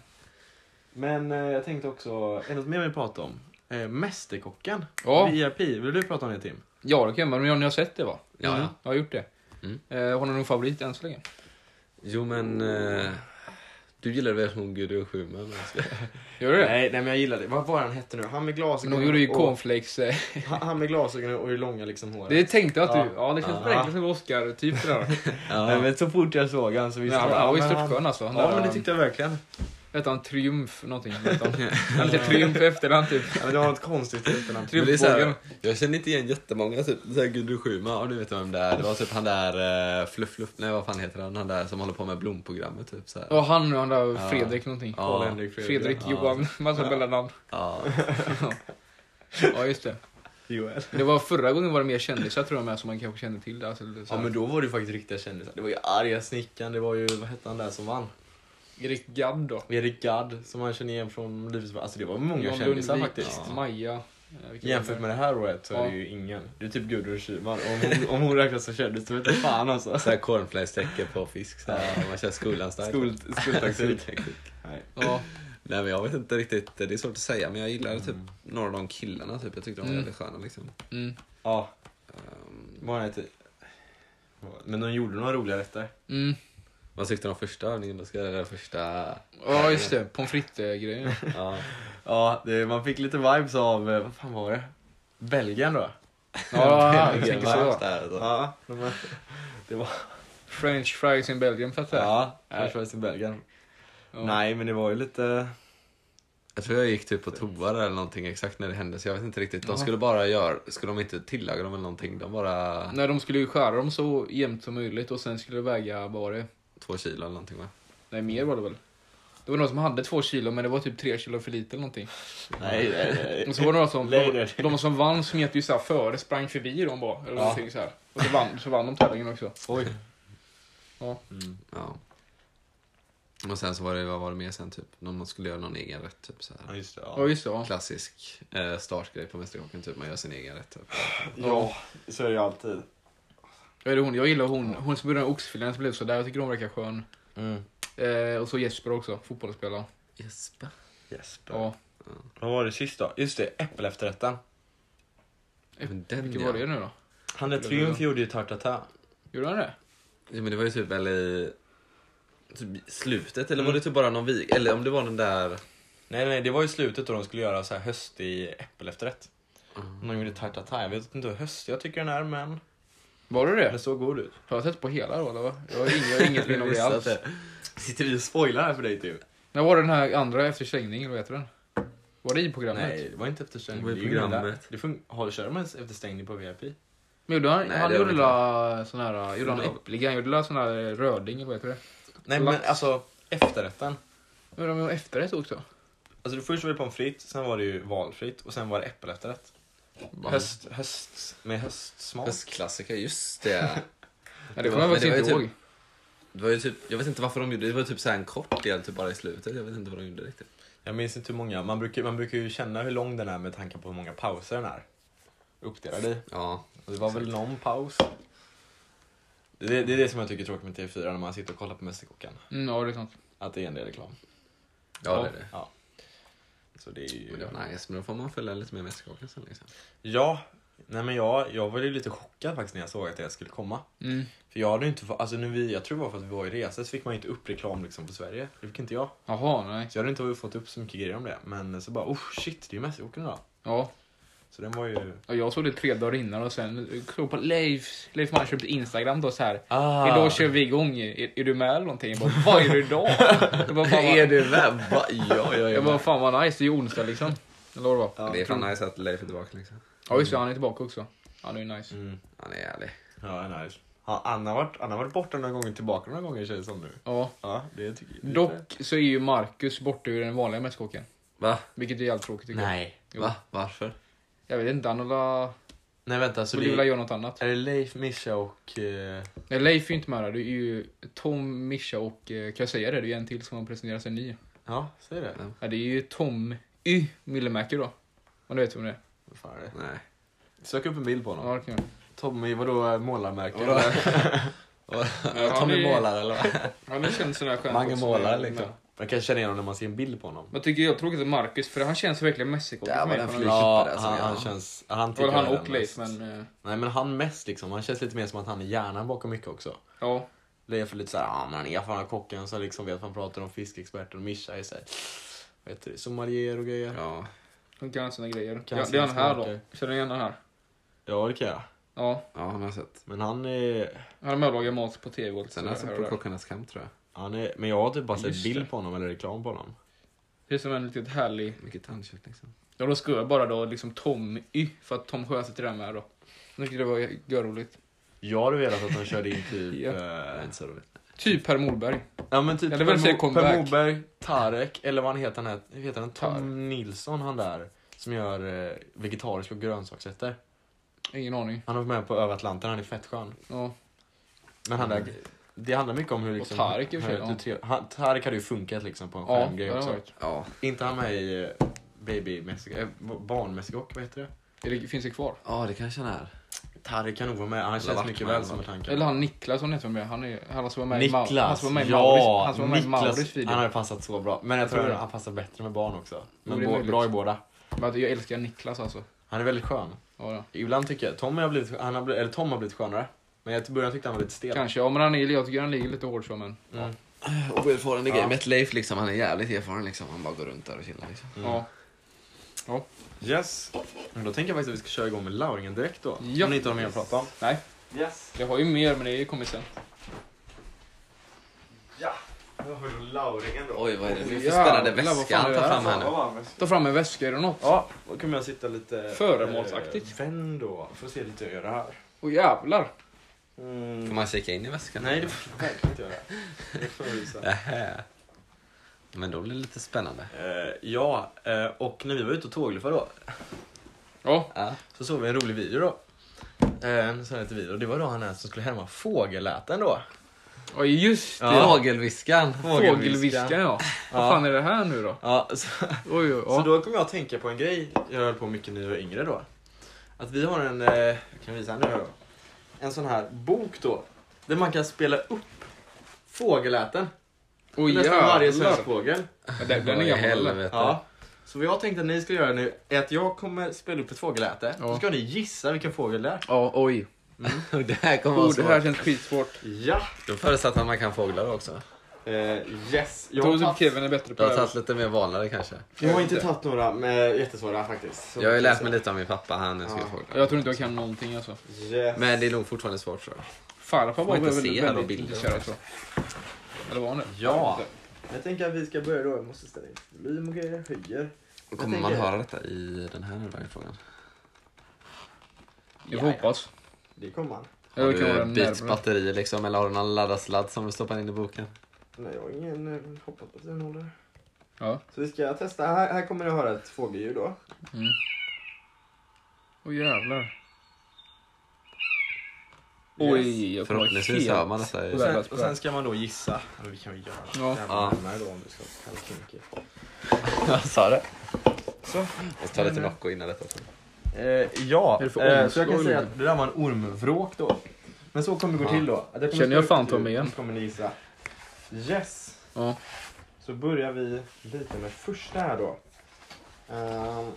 Men eh, jag tänkte också, är det något mer vi prata om? Eh, mästerkocken. Ja. VIP. Vill du prata om det Tim? Ja, det kan jag göra, men ni har sett det va? Ja, ja. Jag har gjort det. Mm. Eh, har ni någon favorit än så länge? Jo, men... Eh, du gillar väl hon Gudrun Schyman? men- Gör du det? Nej, nej men jag gillade det. Vad var han hette nu? Han med Men glasögonen. de Alltså, gjorde ju och- cornflakes. eh, han, han med glasögonen och det långa liksom håret. Det tänkte jag att Ja. du... Ja, det känns Ja. verkligen som Oscar-typ det där. Nej, ja. men så fort jag såg han så Men visste han, jag. han var ju men han- störtskön alltså. Han Ja där, men det han- tyckte jag verkligen. Hette han Triumf någonting? Hette han Han hette Triumf i efterhand typ. Ja, men det var ett konstigt efternamn. Men det är så Triumfbågen. här, jag känner inte igen jättemånga. Typ, så här Gudrun Schyman, ja, du vet vem det är. Det var typ han där eh, Fluff Fluff, nej vad fan heter han? Han där som håller på med blomprogrammet typ. Så här. Och han och han där Ja. Fredrik någonting. Ja. Karl-Henrik Fredrik, Ja. Johan, massa mellannamn. Ja. Ja, just det. Joel. Men Det var förra gången var det mer kändisar tror jag med som man kanske kände till. Alltså, så Ja här, men då var det ju faktiskt riktiga kändisar. Det var ju arga snickaren, det var ju, vad hette han där som vann? Erik Gadd då. Erik Gadd som man känner igen från Livets Alltså det var många John kändisar Lundvik, faktiskt. Maja. eh, vilka Jämfört med det här året så är det ju ingen. Det är typ Gudrun Schyman. Om hon, om hon räknas som kändis så vet jag fan alltså. Så här cornflakes-tecken på fisk. Så här, man kör skolan-style. Skol, skoltaktik. Skoltaktik. Nej. Ja, Nej men jag vet inte riktigt, det är svårt att säga men jag gillade typ några av de killarna typ. Jag tyckte de var Mm. jävligt sköna liksom. mm, Ja, Ehm, vad han heter. Men de gjorde några roliga rätter. mm. vad tyckte du om första övningen? Då ska jag göra första... ja, just det. Pommes frites-grejen. Ja. Ja, det, man fick lite vibes av, eh, vad fan var det? Belgien då? Ja, Belgien, jag tänker va? så. Där, alltså. Ja, de var... Det var... French fries in Belgium, fattar jag. Ja, French fries i Belgien. Ja. Nej, men det var ju lite... Jag tror jag gick typ på toa där eller någonting exakt när det hände så jag vet inte riktigt. De skulle bara göra, skulle de inte tillaga dem eller någonting? De bara När de skulle ju skära dem så jämnt som möjligt och sen skulle det väga, vad var det? två kilo eller någonting va? Nej, mer var det väl? Det var någon som hade två kilo men det var typ tre kilo för lite eller någonting. Nej, nej, Och så var det några som, de, Later. de som vann smet ju såhär före, sprang förbi dem bara. Eller Ja. någonting så här. Och så vann, så vann de tävlingen också. Oj. Ja. Mm. Ja. Och sen så var det, vad var det mer sen typ? Någon man skulle göra någon egen rätt typ så Ja, här. just det. Ja, Ja. just det. Ja. Klassisk eh, startgrej på Mästerkocken typ, man gör sin egen rätt typ. ja, så är det ju alltid. Jag, gillar hon, jag gillar hon, hon som började med oxfilén som blev sådär. Jag tycker hon verkar skön. Mm. Eh, och så Jesper också, fotbollsspelare. Jesper. Jesper. Ja. Vad var det sista? Just det, äppelefterrätten. Men den Vilken ja. var det nu då? Han där Triumf gjorde ju tarte tatin. Gjorde han det? Ja, men det var ju typ väl i typ i slutet eller var Mm. det typ bara någon vik? Eller om det var den där... Nej, nej, det var ju slutet då de skulle göra så här höstig äppelefterrätt. De gjorde tarte tatin. Jag vet inte hur höstig jag tycker den är, men Var det den det? såg god ut. Har jag sett på hela då eller? va? Jag har inget, jag har inget minne av det Visste alls. att det- Sitter vi och spoilar här för dig, typ? Tim? När var det den här andra efter slängning, vad heter den? Var det i programmet? Nej, det var inte efter Det stängning. var i Det är ju ingen där. programmet. Det fun- Har du kör de ens efter stängning på VIP? Men gjorde han, Nej, han det var gjorde det la sån här, eh, gjorde han Gjorde han- äppliga, han gjorde la sån här eh, röding, eller vad heter det? Nej, men Lax. alltså efterrätten. Men de gjorde efterrätt också. Alltså först var det pommes frites, sen var det ju valfritt och sen var det äppelefterrätt. Höst, höst, med höstsmak. Höstklassiker, just det. Nej, det kommer var- jag men det faktiskt inte var ju ihåg. typ- Det var ju typ, jag vet inte varför de gjorde det, det var typ så här en kort del typ bara i slutet. Jag vet inte vad de gjorde riktigt. Jag minns inte hur många, man brukar, man brukar ju känna hur lång den är med tanke på hur många pauser den är. Uppdelad i. Ja, Och det var väl någon paus. Det, det är det som jag tycker är tråkigt med TV4 när man sitter och kollar på Mästerkocken. Mm, ja, det är sant. Att det är en del reklam. ja det är det. Ja. Så det är Men ju... det var nice, men då får man följa lite mer Mästerkocken sen liksom. Ja, nej men jag, jag var ju lite chockad faktiskt när jag såg att det skulle komma. Mm. För jag hade ju inte fått, alltså när vi, jag tror det var för att vi var i resa så fick man ju inte upp reklam liksom för Sverige. Det fick inte jag. Jaha, nej. Så jag hade inte fått upp så mycket grejer om det. Men så bara, oh shit, det är ju Mästerkocken idag. Ja. Så den var ju... Ja, Jag såg det tre dagar innan och sen eh, såg på Leif, Leif Mancherups Instagram då så här. Ah. Idag kör vi igång, är, är du med eller någonting? Jag bara, vad är det idag? Jag bara, fan, Är vad, du med? Va? Ja, ja, jag ja. bara, fan vad nice, det är ju onsdag liksom. Eller vad det var. Det är fan nice att Leif är tillbaka liksom. Ja just det, han är tillbaka också. Han är ju nice. Mm. Han är ärlig. Ja, nice. Ja, Anna har varit, Anna har varit borta några gånger, tillbaka några gånger känns det som nu. Ja. Ja, det tycker jag. Dock så är ju Marcus borta ur den vanliga mästerkocken. Va? Vilket är jävligt tråkigt tycker Nej. Jo. Va? Varför? jag. Jag vet inte, han la- Nej vänta, så borde vilja det göra något annat. är det Leif, Mischa och... eh, Nej, Leif är ju inte med där. Det är ju Tom, Mischa och, eh, kan jag säga det? Det är ju en till som har presenterat sig ny. Ja, säg det. Ja. Ja, det är ju Tom Y Millemäki då. Om du vet vem det är. Vad fan är det? Nej. Sök upp en bild på honom. Ja, det kan jag. Tommy, vadå målarmärken? Vadå? eller? Ja, Tommy det- målar eller vad? Han är känd sån där skön Mange också. målare liksom. Men- Man kan känna igen honom när man ser en bild på honom. Man tycker jag är tråkigt att Marcus, för han känns verkligen Mexiko. Där för mig. var den Han- flyg- Ja, klippare, han, alltså, han ja. känns... Han Det var tycker han jag är och den Leif, mest. men... eh, Nej men han mest liksom, han känns lite mer som att han är hjärnan bakom mycket också. Ja. Leif är lite såhär, ja men han är fan kocken så liksom vet vad han pratar om, fiskexperten och Mischa är såhär, vad heter det, sommelier och grejer. Ja. Han kan såna grejer. Kan ja, det är sina han här då. smaker. Känner du igen den här? Ja det kan jag. Ja. Ja, han har jag sett. Men han är, Han har med och lagat mat på tv och lite Sen sådär har här jag sett och på där. Kockarnas kamp tror jag. han är, men jag har typ bara Just sett det. bild på honom eller reklam på honom. Det är som en litet härlig... Mycket tandkött liksom. Ja, då skrev jag bara då liksom Tom Y, för att Tom Sjöstedt är där med då. Jag tyckte det var görroligt. Jag hade velat att han körde in typ... Ja. Det är eh, inte så roligt. Typ Per Morberg. ja men typ Jag hade velat se Mo- comeback. per Moberg, Tarek eller vad han heter, han heter, heter han Tom Tarek. Nilsson han där. Som gör eh, vegetariska och grönsaksrätter. Ingen aning. Han har varit med på Över Atlanten, han är fett skön. Ja. Men han där, det handlar mycket om hur liksom... Tarek i Mm. och för sig, ja. hur, hur trev- han, Tarek hade ju funkat liksom på en Ja, skärmgrej det har också. varit. Ja. Inte han med i eh, Baby Mexiko, äh, barnmässigåk, vad heter det? Är det- Finns det kvar? Ja, det kanske han är. Tarek kan nog vara med, han känns mycket Wackman, väl som va? att han kan. Eller han Niklas, han heter vem det är. Han är- Han som var med i Mau- han Niklas, som var med i Mauris- ja! han som var med i Mauris Niklas, han video. hade passat så bra. Men jag tror tror det. han passar bättre med barn också. Men det är bå- möjligt. bra i båda. Men att Jag älskar Niklas alltså. Han är väldigt skön. Ja, ja. Ibland tycker jag, Tom har blivit, han har blivit, eller Tom har blivit skönare. Men jag till början tyckte han var lite stel. Kanske, ja men han är, jag tycker han ligger lite hårt så men. Mm. Oerfaren i Ja. gamet. Leif liksom, han är jävligt erfaren liksom. Han bara går runt där och chillar liksom. Mm. Ja. Yes. Men då tänker jag faktiskt att vi ska köra igång med Lauringen direkt då. Ja. Om ni inte har mer att prata om. Nej, Yes. jag har ju mer men det är ju kommit sen. Ja. Nu har vi då Lauringen då. Oj, vad är det nu för Jävlar, spännande vad väska fan han är det tar här fram här nu? Fan, vad Ta fram en väska, är det något? Ja, då kommer jag sitta lite... Föremålsaktigt. eh, Vänd då. Får se lite hur jag gör det här. Åh jävlar. Mm. Får man kika in i väskan? Nej, det får jag verkligen inte göra. Det får jag visa. Nähä. Men då blir det lite spännande. Eh, ja, eh, och när vi var ute och tågluffade då Ja, Ja. så såg vi en rolig video då. Eh, En sån här liten video. Det var då han här som skulle härma fågelläten då. ja just det. Ja. Fågelviskan. Fågelviskaren ja. Vad Ja. fan är det här nu då? Ja, så, Oj, oj, så ja. då kom jag att tänka på en grej jag höll på mycket när jag var yngre då. Att vi har en, eh, jag kan visa här nu då. En sån här bok då. Där man kan spela upp fågelläten. Oj, Nästan varje jävlar. svensk fågel. Ja, Den den är Vad i gammal. eller? helvete. Ja. Så vad jag tänkte att ni ska göra nu är att jag kommer spela upp ett fågelläte. Ja. Så ska ni gissa vilken fågel det är. Ja, oj. Det här kommer vara Oh, det här svårt. känns skitsvårt. Ja! Då förutsatt att man kan fåglar också. Eh, yes. Jag Tror har, du tagit, Kevin är bättre på Jag det? har här? tagit lite mer vanare kanske. jag har inte tagit några med jättesvåra faktiskt. Så Jag har ju lärt mig lite av min pappa, han älskar ju Ja. fåglar. Jag tror inte jag kan någonting alltså. Yes. Men det är nog fortfarande svårt tror jag. Farfar var inte väl se väldigt, alla väldigt bilder. intresserad tror jag. Eller var han det? Ja. Jag tänker att vi ska börja då. Jag måste ställa in volym och grejer. Höjer. Jag Kommer man tänker- höra detta i den här frågan? Jag får hoppas. Det kommer man. Har Eller kan vara du den bytt närmare. batteri liksom eller har du någon laddarsladd som du stoppar in i boken? Nej, jag har ingen eh, hoppas på att den håller. Ja. Så vi ska testa. Här, här kommer ni att höra ett fågelljud då. Mm. Åh jävlar. Oj, jag kommer Förhoppningsvis hör man detta. Och I... där- Sen, och sen ska man då gissa. Eller vi kan väl göra det. Ja. Jävla närmare då om du ska kalla kinky. Jag sa det. Så. Jag tar lite Nocco innan detta. Eh, ja, Är det för eh, så omslag jag kan säga eller? att det där var en ormvråk då. Men så kommer det gå Ja. till då. Att kommer Känner jag spela fan upp Tommy ljud, igen? så kommer ni gissa. Yes! Ja. Så börjar vi lite med första här då. Ehm.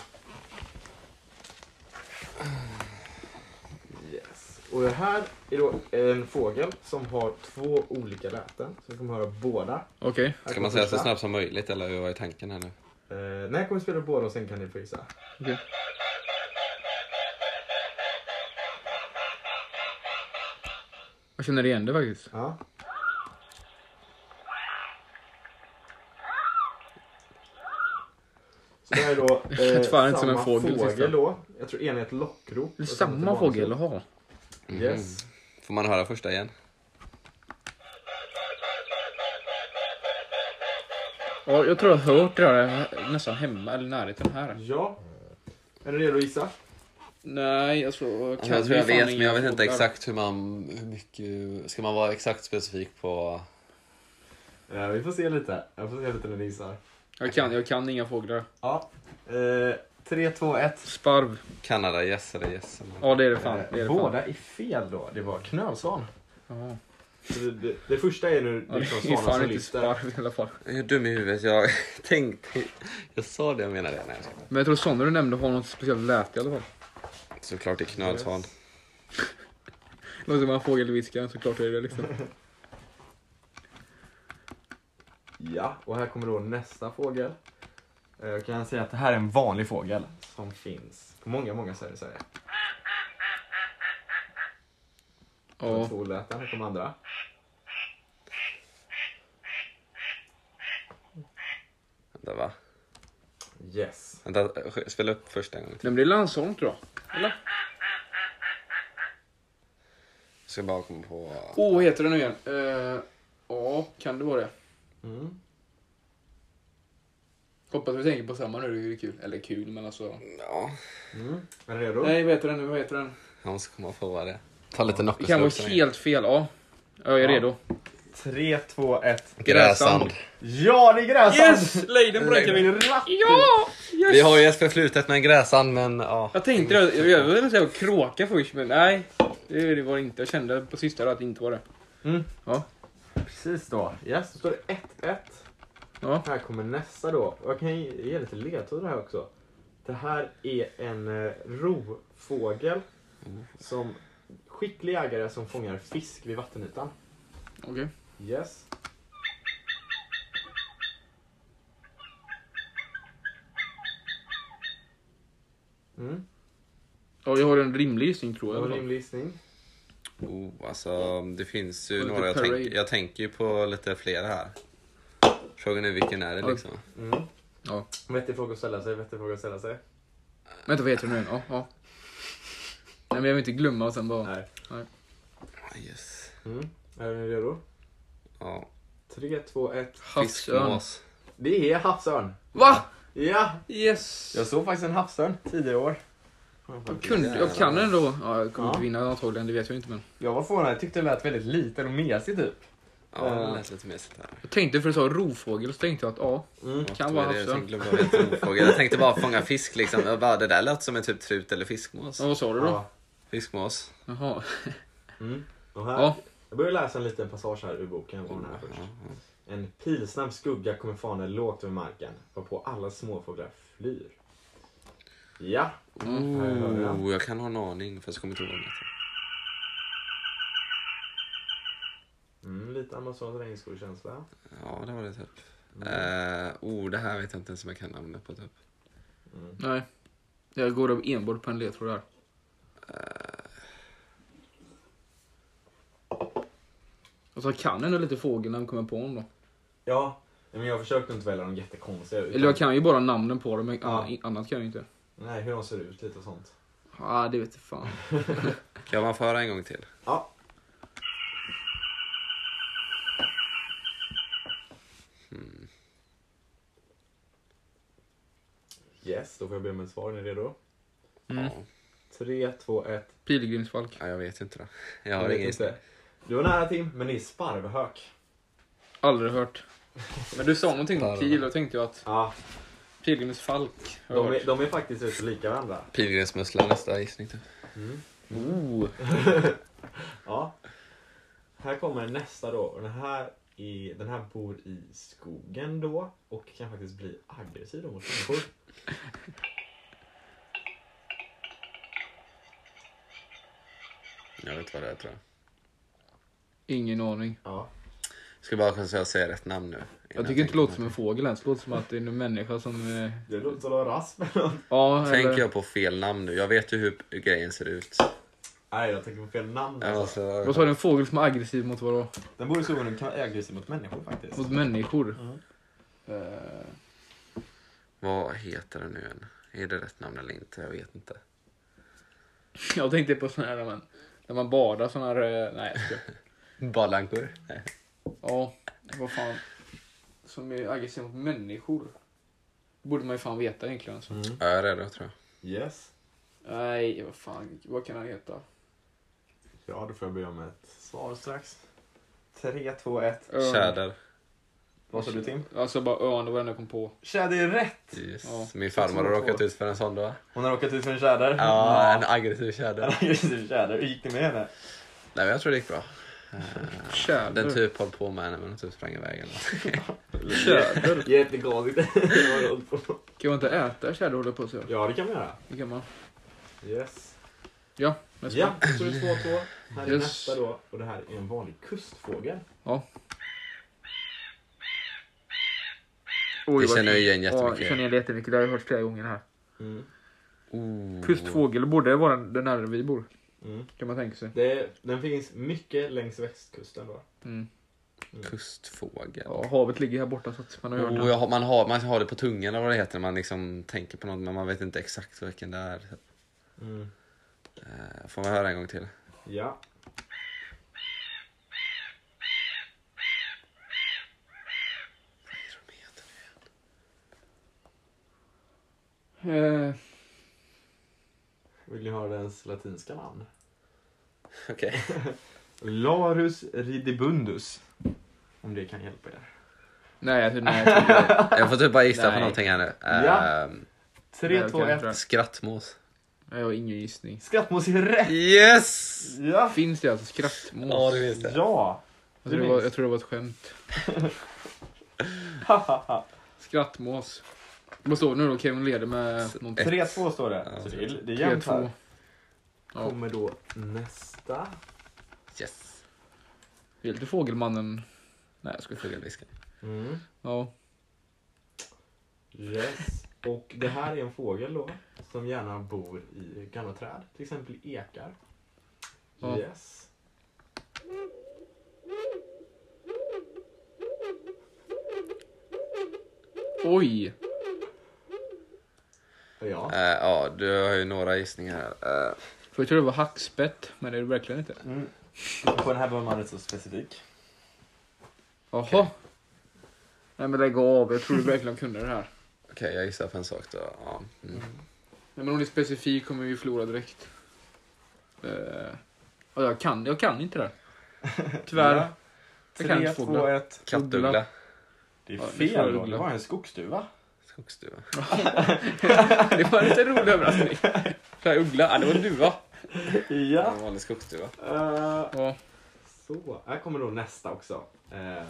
yes. Och det här är då en fågel som har två olika läten. Så vi kommer höra båda. Här Okej. Ska kommer man säga så första. snabbt som möjligt eller vad är tanken här nu? Eh, nej, jag kommer spela båda och sen kan ni få gissa. Okej. Jag känner igen det faktiskt. Ja. Så det här är då eh, Det lät fan inte som en samma fågel, sista. då. Jag tror en är ett lockrop. Det är och sen ett samma vanligt fågel, rop. jaha. Yes. Mhm. Får man höra första igen? Ja, jag tror jag har hört det där nästan hemma, eller närheten här. Ja. Är ni redo att gissa? Nej, alltså... Alltså, jag tror jag vet, men jag vet inte exakt hur man... Hur mycket, ska man vara exakt specifik på... Eh, vi får se lite. Jag får se lite när ni gissar. Jag kan, jag kan inga fåglar. Ja. Eh, 3, 2, 1. Sparv. Kanada, yes eller yes. eller- Ja, det är det fan. Det är det fan. Eh, Båda är fel då. Det var knölsvan. Ja. Så Det, det, det första är nu Ja, det det från är svanen fan som inte lyfter. sparv i alla fall. Jag är dum i huvudet. Jag tänkte... Jag sa det jag menade. Nej, jag skojar. Men jag tror Sonny du nämnde har något speciellt läte i alla fall. Såklart det är knölsvan. Låter som en fågelviskare, såklart är det liksom. Ja, och här kommer då nästa fågel. Eh, Jag kan säga att det här är en vanlig fågel som finns på många, många ställen i Sverige. Ja. Två läten, här kommer andra. Vänta, va? Yes. Vänta, spela upp första gången. Nej men det är Landsholm tror jag. Eller? Jag ska bara komma på... Åh, vad heter den nu igen? Eh, Ja, kan det vara det? Mm. Hoppas vi tänker på samma nu, det är ju kul. Eller kul, men alltså. Ja, Mm. Är ni redo? Nej, vad heter den nu? Vad heter den? jag måste komma på vad det är. Ta lite Det Nocco kan så vara länge. helt fel, ja. Jag är Ja. redo. 3, 2, 1. Gräsand. Ja, det är gräsand! Leiden bräcker vi. Grattis! Ja! Yes! Vi har ju ett förflutet med en gräsand, men ja. Jag tänkte det, jag- jag ville säga kråka först, men nej. Det det var det inte. Jag kände på sista då att det inte var det. Mm. Ja. Precis då. Yes, då står det 1-1. Ja. Här kommer nästa då. Och jag kan ge ge lite ledtrådar här också. Det här är en eh, rovfågel. Som skicklig jägare som fångar fisk vid vattenytan. Okej. Yes. Mm. Ja, jag har en rimlig gissning tror Det var jag. en rimlig gissning. Oh, alltså, det finns ju Och lite några. Jag, parade. tänk, jag tänker ju på lite fler här. Frågan är vilken är det Ja. liksom? Mm. Ja. Vettig fråga att ställa sig, vettig fråga att ställa sig. Vänta, vad heter den nu igen? Ja, ja. Nej, men jag vill inte glömma och sen bara... Nej. Ja, Yes. Mm. Är ni redo? Ja, 3, 2, 1. Havsörn. fiskmås. Det är havsörn. Va? Ja! Yes! Jag såg faktiskt en havsörn tidigare i år. Jag, kunde, jag kan den då. Ja, jag kommer Ja. inte vinna antagligen, det vet jag inte men. Jag var förvånad, jag tyckte den lät väldigt liten och mesig typ. Ja, det Ja. lät lite mesigt här. Jag tänkte för du sa rovfågel så tänkte jag att ja. Något Kan var vara det jag havsörn. tänkte bara veta om fågel. Jag tänkte bara fånga fisk liksom. Jag bara, det där lät som en typ trut eller fiskmås. ja vad sa du då? Ja. Fiskmås. Jaha. Mm. Och här, Ja. Jag börjar läsa en liten passage här ur boken. Var den här Ja, först. ja. En pilsnabb skugga kommer fana lågt över marken, varpå alla småfåglar flyr. Ja, Mm. Här hörde jag. Oh, jag kan ha en aning fast jag kommer inte ihåg vad den heter. mm, lite Amazonas regnskogskänsla. Ja, det var det typ. Mm. Eh, oh, det här vet jag inte ens om jag kan namnet på typ. Nej. Jag går av enbart på en ledtråd här. Och så kan jag ändå lite fågelnamn kommer jag på honom Ja, men jag försökte inte välja de jättekonstiga. då. utan- Eller jag kan ju bara namnen på dem, men Ja. annan- annat kan jag ju inte. Nej, hur de ser ut lite och sånt. Ja, ah, det vet jag fan. Kan man föra en gång till? Ja, Hmm. yes, då får jag be om ett svar. Är ni redo? Mm. Ja. 3, 2, 1. Pilgrimsfalk. ja, jag vet inte då. Jag Jag har vet ingen gissning. inte. Du var nära Tim, men det är sparvhök. Aldrig hört. Men du sa någonting om pil, och tänkte jag att Ja, pilgrimsfalk. har jag de är, hört. de är faktiskt rätt så lika varandra. Pilgrimsmussla nästa gissning typ. Oh. Ja. Här kommer nästa då. Och den, här är, den här bor i skogen då och kan faktiskt bli aggressiv då mot människor. Jag vet vad det är tror jag. Ingen aning. Ja. Ska bara kunna säga- säga rätt namn nu. Jag tycker inte det låter som en fågel ens. Det låter som att det är en människa som... eh, Det låter som en rasp eller något. Ja, Tänker eller... jag på fel namn nu? Jag vet ju hur hur grejen ser ut. Nej, jag tänker på fel namn. Alltså. Alltså, Vad sa du? En fågel som är aggressiv mot vadå? Den bor i skogen och kan vara aggressiv mot människor faktiskt. Mot människor? Mm. Eh, Vad heter den nu än? Är det rätt namn eller inte? Jag vet inte. jag tänkte på sån här när man, när man badar sån här... eh, Nej, jag skojar. Balankor? Ja, vad fan. Som är aggressiv mot människor. borde man ju fan veta egentligen. Alltså. Mm. Ja, jag är redo tror jag. Yes. Nej, vad fan. Vad kan han heta? Ja, då får jag be om ett svar strax. 3, 2, 1. Örn. Tjäder. Vad sa du Tim? Alltså bara örn, det var den jag kom på. Tjäder är rätt! Yes. Ja. Min farmor har råkat ut för en sån då. Hon har råkat ut för en tjäder. Ja, en aggressiv En tjäder. aggressiv tjäder. Hur gick det med henne? Nej, men jag tror det gick bra. Eh, Den Tjäder. typ höll på med henne men hon typ sprang iväg eller något. Tjäder? Jättekonstigt. Kan man inte äta tjäder håller på så? ja, det kan man göra. Det kan man. Yes. Ja, men Ja, då står det 2-2. Här är Yes. nästa då. Och det här är en vanlig kustfågel. Oj, Det vad känner jag kul. igen Ja, jag jättemycket. känner igen det jättemycket. Det har jag hört flera gånger här. Mm. Oh. Kustfågel borde vara den den här vi bor, Mm. kan man tänka sig. Det, den finns mycket längs västkusten då. Mm. Kustfågel. Ja, havet ligger här borta så att man har hört Oh, det. jag har, man, har, man har det på tungan eller vad det heter när man liksom tänker på något men man vet inte exakt vilken det är. Mm. Eh, Får man höra en gång till? Ja. Eh, Vill ni höra dens latinska namn? Okej. Larus ridibundus. Om det kan hjälpa er. nej, alltså, nej. jag tror inte det. Jag får typ bara gissa på Nej. någonting här nu. Eh, Ja. Nej, Tre, jag två, kan ett. inte det. Skrattmås. Nej, Jag har ingen gissning. Skrattmås är rätt! Yes! Ja! Finns det alltså skrattmås? Ja, det finns det. Ja! jag, tror det var, jag tror det var ett skämt. Skrattmås. Vad står det nu då? Kevin leder med någonting. 3-2 står det. Ja, Så det är, det är jämnt här. 3-2. Ja. Kommer då nästa. Yes. Det är lite Fågelmannen. Nej, jag skojar. Fågelviskare. Mm. Ja. Yes. Och det här är en fågel då. Som gärna bor i gamla träd. Till exempel ekar. Ja. Yes. Oj! Ja. Äh. Eh, Ja, du har ju några gissningar här. Eh, För jag tror det var hackspett, men det är det verkligen inte. Mm. På den här behöver man rätt så specifik. Jaha. Nej men lägg av, jag tror du verkligen kunde det här. Okej, jag gissar på en sak då. Ja. Mm. Nej men om det är specifik kommer vi förlora direkt. Uh, jag, kan, jag kan inte det här. Tyvärr. Ja. Jag kan inte 3, 2, fåglar. 1. Kattuggla. Det är Ja, det fel får då. du. Det var en skogsduva. Skogsduva. Det var en lite rolig överraskning. Så här, uggla, ja det var en duva. Ja. Ja. En vanlig skogsduva. Eh, Ja. Så, här kommer då nästa också. Eh,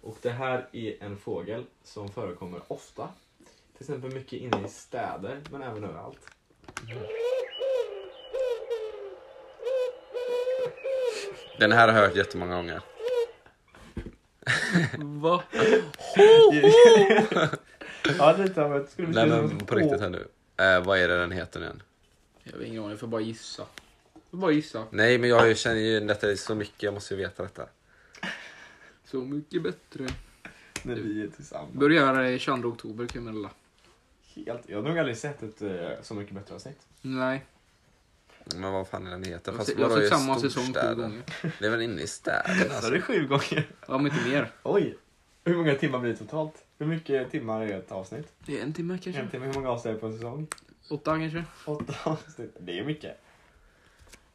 och det här är en fågel som förekommer ofta. Till exempel mycket inne i städer, men även överallt. Den här har jag hört jättemånga gånger. Va? ja, lite av ett... Skulle Nej Mm. men på riktigt här nu. Eh, vad är det den heter nu igen? Jag har ingen aning, jag får bara gissa. Jag får bara gissa. Nej men jag har ju- känner ju detta så mycket, jag måste ju veta detta. Så mycket bättre. När vi är tillsammans. Börjar i 22 oktober kan man alla. Helt, jag har nog aldrig sett ett eh, Så mycket bättre avsnitt. Alltså- Nej, Men vad fan är den jag heter? har Fast sett- jag har vadå, sett i samma säsong två storstäder? gånger. Det är väl inne i städerna? Sa Alltså. du sju gånger? Ja men inte mer. Oj! Hur många timmar blir det totalt? Hur mycket timmar är ett avsnitt? Det är en timme En kanske. timme, hur många avsnitt är det på en säsong? Åtta kanske. Åtta avsnitt. Det är mycket.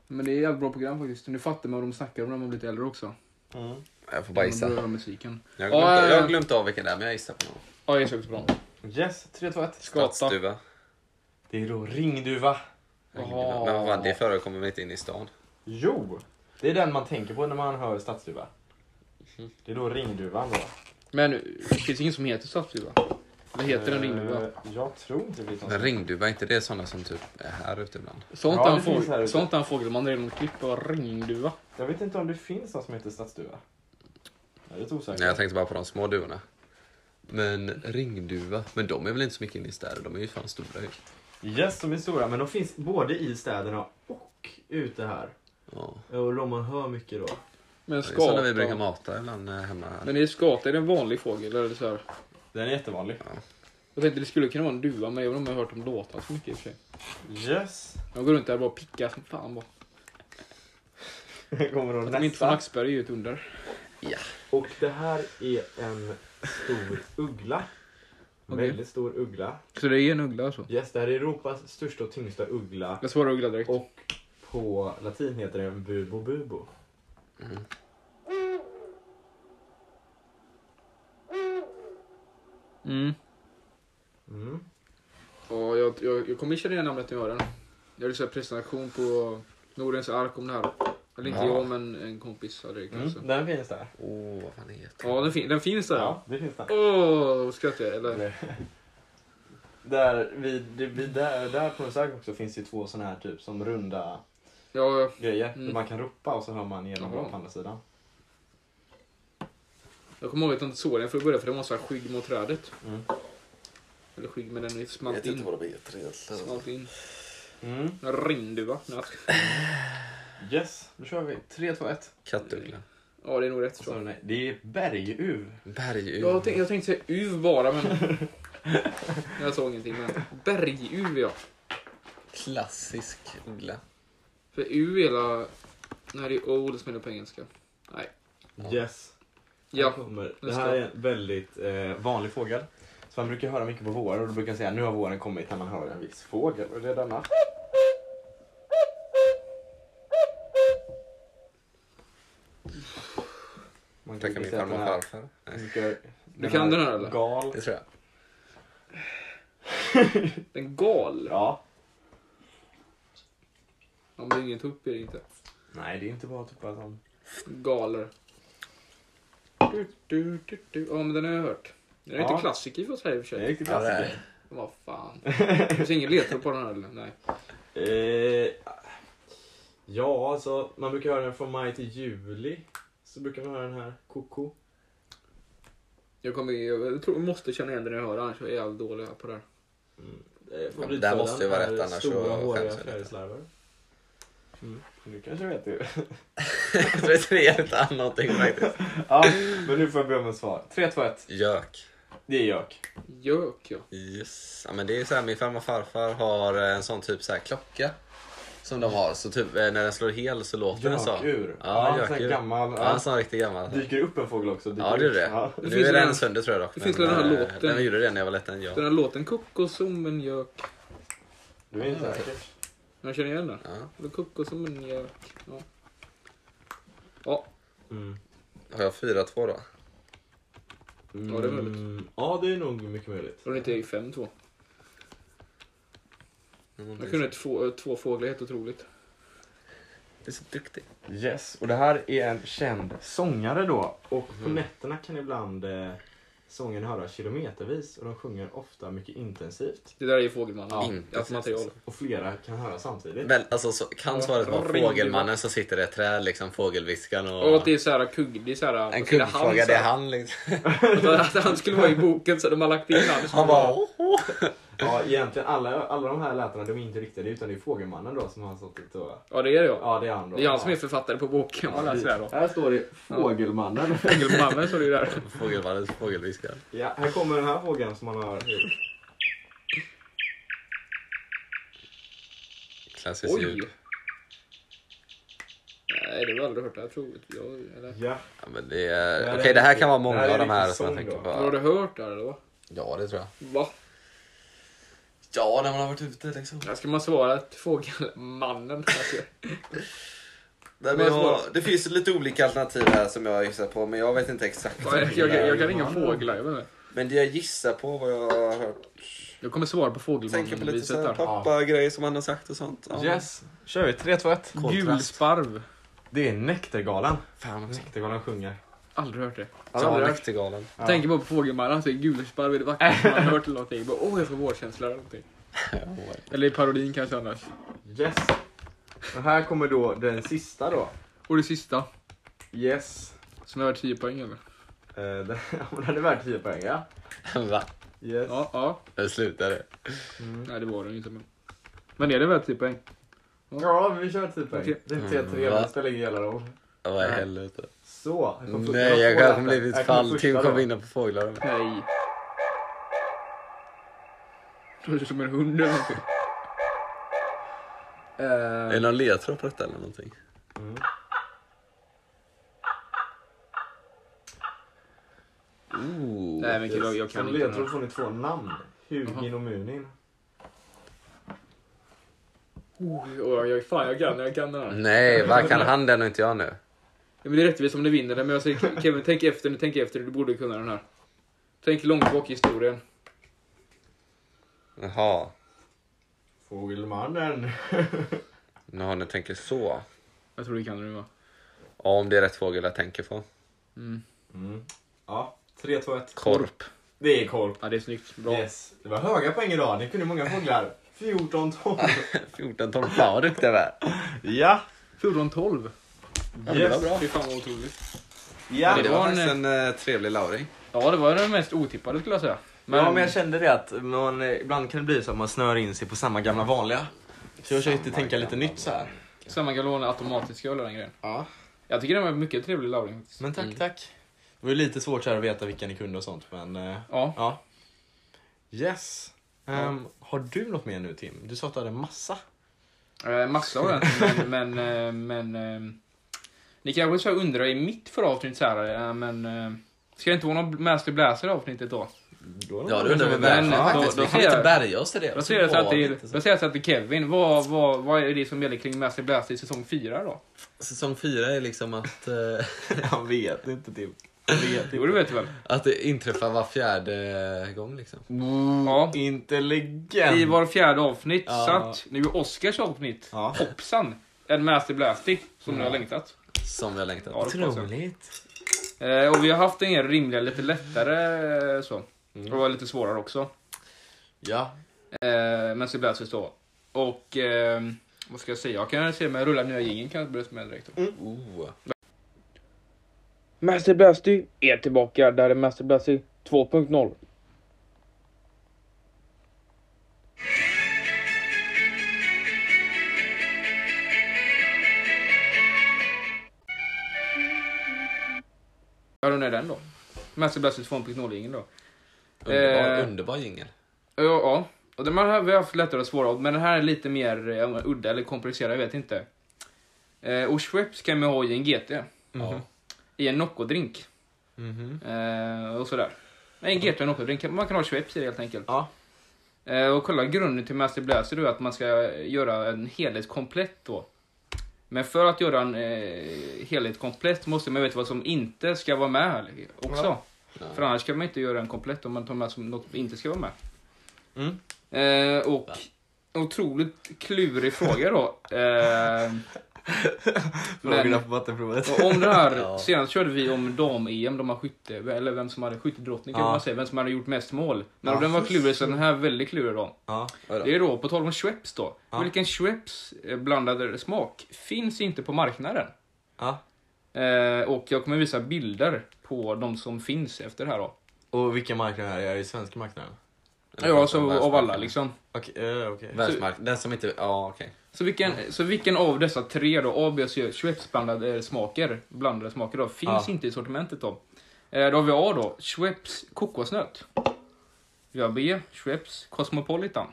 Men det är ett jävligt bra program faktiskt. Nu fattar man vad de snackar om när man blir lite äldre också. Mm. Jag får bara När man gissa. börjar höra musiken. Jag har Ja, glömt, ja, jag ja. har glömt av vilken det är men jag gissar på någon. Ja, jag är också bra. Yes, 3, 2, 1. Skata. Stadsduva. Det är då ringduva. Jaha. Men vad fan, det förekommer väl inte inne i stan? Jo! Det är den man tänker på när man hör stadsduva. Mhm. Det är då ringduvan då. Men det finns ingen som heter stadsduva? Eller heter den ringduva? Eh, Jag tror inte det blir Men ringduva, är inte det sådana som typ är här ute ibland? Sånt ja, är det en finns här fågel- ute. sånt är en fågelman. Det är någon klipp och ringduva. Jag vet inte om det finns något som heter stadsduva. Jag är lite osäker. Nej, jag tänkte bara på de små duvorna. Men ringduva, men de är väl inte så mycket inne i städer? De är ju fan stora ju. Yes, de är stora, men de finns både i städerna och ute här. Ja. Och de man hör mycket då. Men Det är sådana vi brukar skata. mata ibland eh, hemma. Men är skata är det en vanlig fågel? Eller är det så här? Den är jättevanlig. Jag tänkte det skulle kunna vara en duva, men jag vet inte om jag har hört dem låta så mycket i och för sig. Yes! De går runt där och bara pickar som fan bara. Här kommer då Att de inte från nästa. Axberg är ju ett under. Och det här är en stor uggla. Okej. Väldigt stor uggla. Så det är en uggla alltså? Yes, det här är Europas största och tyngsta uggla. Jag svarar uggla direkt. Och på latin heter den bubo bubo. Mm. Mm. Mm. Ja, jag, jag, jag kommer känna igen namnet när jag hör den. Jag gjorde så här presentation på Nordens Ark om det här. Eller inte Ja. jag, men en kompis hade det kanske. Den finns där. Åh, oh, vad fan heter Ja, den, fin- den finns där. ja. det finns där. Åh, oh, vad skrattar jag. Eller, Där, vid, det- vid, där, där på Nosak också finns det ju två såna här typ som runda ja, grejer. Mm. Där man kan ropa och så hör man genom Jaha. på andra sidan. jag kommer ihåg att jag inte såg den för att börja för den var så här skygg mot trädet. Mm. Eller skygg, men den Jag smalt vet in. inte vad de heter alltså. egentligen. Smalt in. Mm. En ringduva. Nej, Yes, då kör vi. 3, 2, 1. Kattuggla. Ja, det är nog rätt tror jag. Alltså, Så, nej. Det är berguv. Berguv. Jag tänkte, jag tänkte säga uv bara, men jag såg ingenting. Men berguv, ja. Klassisk uggla. För u är hela... När det är old som är det på engelska. Ja. Yes. Ja. Här kommer. Det Nästa. här är en väldigt eh, vanlig fågel. Så man brukar höra mycket på våren och då brukar jag säga nu har våren kommit när man hör en viss fågel. Och det är denna. Man Tackar min säga att farmor och den här- farfar. man brukar- kan den här, eller? Gal. Det tror jag. Den gal. Ja. Ja, men det är ingen tupp är det inte. Nej, det är inte bara tuppar som... Galer. Du, du, du, du. Ja, men den har jag hört. Den är Ja. inte klassiker för Sverige i och för Det är en sig. riktig Ja, det är klassiker. Vad fan. Det finns ingen ledtråd på den här eller? Nej. Eh, ja, alltså man brukar höra den från maj till juli. Så brukar man höra den här, koko. Jag, kommer, jag tror jag måste känna igen den när jag hör den, annars är jag jävligt dålig på det här. Mm. Eh, Ja, men där måste ju vara rätt, annars så Stora, håriga skäms jag lite. fjärilslarver. Mm. Du kanske vet det. Jag tror inte det är ett annat ting faktiskt. ja, men nu får jag be om ett svar. 3, 2, 1. Gök. Det är gök. Gök ja. Yes. Ja, men det är så här, min farmor och farfar har en sån typ så här klocka. Som de har. Så typ eh, när den slår hel så låter den så. Gökur. Ja, en sån här gökur. gammal. Ja, en Ja. sån riktigt gammal. Dyker upp en fågel också? dyker Ja, det är upp. det. Ja. Det Nu finns väl är den en- sönder tror jag dock. det finns väl den här eh, låten. Den gjorde det när jag var liten, ja. Den här låten Koko som en gök. Du är inte säker. Jag känner igen den. ja. Men Koko som en gök. Ja. ja. Mm. Har jag 4-2 då? Mm, Ja, det är möjligt. Mm. Ja, det är nog mycket möjligt. Och den heter 5-2. Jag kunde två, två fåglar, helt otroligt. Du är så duktig. Yes, och det här är en känd sångare då. Och Mm. på nätterna kan ibland eh, sången höra kilometervis och de sjunger ofta mycket intensivt. Det där är ju Fågelmannen. Inte Ja, allt material. Och flera kan höra samtidigt. Väl, alltså, så, kan Ja, svaret vara ring- fågelmannen som sitter i ett träd, liksom fågelviskan och... Och att det är såhär kugg, det är såhär... en kuggfråga, det är han liksom. han. Att han skulle vara i boken så de har lagt in han. Han bara... "Åh, åh." Ja, egentligen alla, alla de här lätena de är inte riktade utan det är Fågelmannen då som har suttit och... Ja det är det ja. Ja, det är han då. Det är han som är författare på boken. Man läser det här då. Här står det Fågelmannen. Fågelmannen står det ju där. Fågelmannen, fågelviskan. Ja, här kommer den här fågeln som man har... Klassiskt Oj! ljud. Nej det har jag aldrig hört. Jag tror inte jag. Eller? Ja. Ja, men det är... det Okej, är det här riktigt- kan vara det många här är av de här riktigt som jag sång tänker då. Har på. du hört det här eller? va? Ja, det tror jag. Va? Ja, när man har varit ute liksom. Där ska man svara att Fågelmannen. Alltså, Nej, men Vad är jag, svaret? det finns lite olika alternativ här som jag gissar på, men jag vet inte exakt. jag, jag, jag, jag kan inga fåglar. Jag, vet inte. Men det jag gissar på vad jag har hört. jag kommer svara på Tänker på lite Fågelmannen-viset så här där. pappa-grejer som han har sagt och sånt. Ja. Yes, kör vi. 3, 2, 1. Kontrast. Gulsparv. Det är Näktergalan. Fan vad snyggt. Näktergalan sjunger. Aldrig hört det. Ja, Näktergalen. Ja. Tänker bara på Fågelmannen, så är gulsparv är det vackraste man har hört eller någonting. Bara, Åh, jag får vårkänsla eller någonting. Eller i parodin kanske annars. Yes. Och här kommer då den sista då. Och det sista, Yes. som är värt 10 poäng eller? Eh, den, den hade värt 10 poäng ja. Va? Yes. Ja, ja. Nu slutar det. Nej, det var den ju inte men. Men är det värt 10 poäng? Ja, vi kör 10 poäng. Det är 3-3, men Mm, Va? det spelar ingen jävla roll. Vad i Nej. helvete. Så. här kom första- Nej, jag två kommer rätt. bli Här ett kommer fall. första Tim då. kommer vinna på fåglar. Nej. Det låter som en hund eller någonting. Är Eh, det någon ledtråd på detta eller någonting? Mm. Ooh. Nej men killar, jag kan Som inte den ledtråd här. får ni två namn. Hugin Jaha. och Munin. Oj, oj, oj, fan jag kan, jag kan den här. Nej, vad kan han den och inte jag nu? Ja, men det är rättvist om ni vinner den, men jag säger Kevin, tänk efter nu, tänk efter, du borde kunna den här. Tänk långt bak i historien. Jaha, Fågelmannen. nu ni tänker så. Jag tror det kan det nu va? Ja, om det är rätt fågel jag tänker på. Mm. Mm. Ja, 3, 2, 1. Korp. Det är korp. Ja, det är snyggt. Bra. Yes. Det var höga poäng idag. Ni kunde många fåglar. 14 ton. 14 ton. Fan vad duktig jag är. ja. 14-12. Ja, men det var bra. Fy fan vad otroligt. Ja. Men Det det var var faktiskt en- en eh, trevlig lauring. Ja, det var den mest otippade skulle jag säga. Men... Ja, men jag kände det att man, eh, ibland kan det bli så att man snör in sig på samma gamla vanliga. Så jag försökte tänka lite nytt så här. Samma galon är automatiska och hela den grejen. Ja. Jag tycker den var en mycket trevlig lauring faktiskt. Men tack, tack. Det var ju lite svårt så här att veta vilka ni kunde och sånt, men eh, Ja. ja. Yes. Ehm, Har du något mer nu Tim? Du sa att du hade massa. Eh, massa av den. Men, men, eh, men eh, ni kanske så här undrar i mitt förra avsnitt så här, eh, men eh, ska det inte vara någon Master Blaster i avsnittet då? Ja, det undrar vi verkligen. verkligen faktiskt. Då- då Vi kan ser inte jag- bärga oss till det. Då säger jag så här Var till, inte så. då säger jag så här till Kevin, vad, vad, vad är det som gäller kring Master Blaster i säsong 4 då? Säsong fyra är liksom att, eh, Han vet inte Tim. Han vet Jo, det inte. vet du väl? att det inträffar var fjärde gång. Liksom. Ja. Intelligent. I var fjärde avsnitt, Ja. så att nu är Oscars avsnitt, Ja. hoppsan, en Master Blaster som nu har längtat. Som vi har längtat. Ja, det hoppas jag. Otroligt. Eh, och vi har haft en del rimliga, lite lättare eh, så. Mm. Och lite svårare också. Ja. Eh, men så Blazers då. Och ehm, vad ska jag säga? Jag kan se med rulla nya jingeln kan jag börja med direkt. Då. Oh. Mm. Master Blasty är tillbaka. Där är Master Blasty 2.0. Ja, den är den då. Master Blasty 2.0 ingen då. Underbar, Eh. underbar jingel. Ja, ja. Och de här har vi haft lättare och svårare, men den här är lite mer eh, udda eller komplicerad, jag vet inte. Eh, och Schweppes kan man ha i en GT, Ja. Mhm. i en Nocco-drink. Mhm. Eh, och sådär. Nej, en GT och en Nocco-drink, man kan ha Schweppes i det helt enkelt. Ja. Eh, och kolla, grunden till Master Blaster är att man ska göra en helhet komplett då. Men för att göra en eh, helhet komplett måste man veta vad som inte ska vara med här också. Ja. För annars kan man inte göra en komplett om man tar med som något som inte ska vara med. Mm. Eh, och otroligt klurig fråga då. Eh, Frågorna Men- på vattenprovet. och om det här, Ja. senast körde vi om dam-EM, de här skytte, eller vem som hade skyttedrottning kan Ja. man säga, vem som hade gjort mest mål. Men Ja. den var klurig så den här är väldigt klurig då. Ja. Vadå? Det är då, på tal om Schweppes då. Ja. Vilken Schweppes eh, blandad smak finns inte på marknaden? ja. Eh, och jag kommer visa bilder på de som finns efter det här då. Och vilken marknad är det? Är det svenska marknaden? Ja, alltså, så av alla liksom. Okej. eh, okej. Världsmarknaden. Den som inte... Ja, okej. Så vilken, så vilken av dessa tre då, A, B och C, Schweppes blandade smaker, blandade smaker då, finns Ja. inte i sortimentet då? Eh, Då har vi A då, Schweppes kokosnöt. Vi har B, Schweppes Cosmopolitan.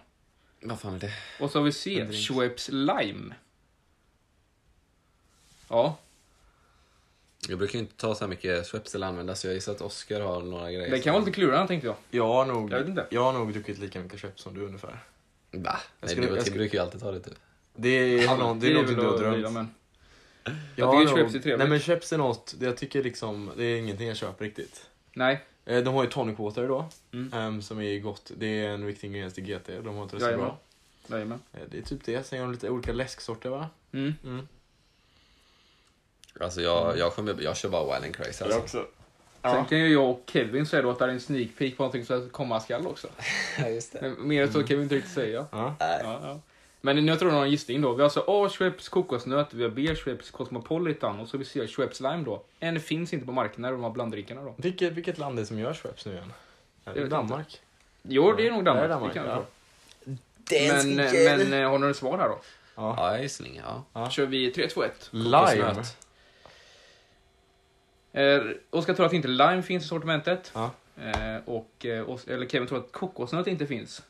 Vad fan är det? Och så har vi C, Schweppes Lime. Ja, Jag brukar ju inte ta så här mycket Schweppes eller använda så jag gissar att Oscar har några grejer. det kan vara lite klurigare tänkte jag. Jag har nog, Jag vet inte. jag har nog druckit lika mycket köp som du ungefär. Va? Nej, skulle- du och jag Tim skulle- brukar ju alltid ta det typ. Det är, någon, det är någonting du väl har att drömt. vrida, men- Jag tycker har nog- chips är trevligt. Nej men chips är något, det jag tycker liksom, det är ingenting jag köper riktigt. Nej, Eh, De har ju tonic water då, Mm. ehm, som är gott. Det är en viktig ingrediens till GT, de har inte det så Jajamän. bra. jajamän. Eh, Det är typ det, sen har de lite olika läsksorter va? Mm. Mm. Alltså jag, jag, kommer, jag kör bara Wild and Crazy alltså. också. Sen Ja. kan ju jag och Kevin säga då att det här är en sneak peek på någonting som komma skall också. Ja, just det. Men mer Mm. så kan vi inte riktigt säga. Ja. Ja, ja. Men jag tror det var en gissning då. Vi har alltså A. Schweppes kokosnöt, vi har B. Schweppes Cosmopolitan och så har vi C. Schweppes Lime då. En finns inte på marknaden, de här blanddrinkarna då. Vilket, vilket land är det som gör chips nu igen? Är vet det inte. Danmark? Jo, det är nog Danmark. Det är Danmark, det kan jag ja. tro. men, men eh, har ni några svar här då? Ja. Ja, jag gissar inget, ja. Ja. kör vi 3, 2, 1. Lime? Kokosnöt. Eh, Oskar tror att inte lime finns i sortimentet. Ja. Eh, och, eh, Os- eller Kevin tror att kokosnöt inte finns.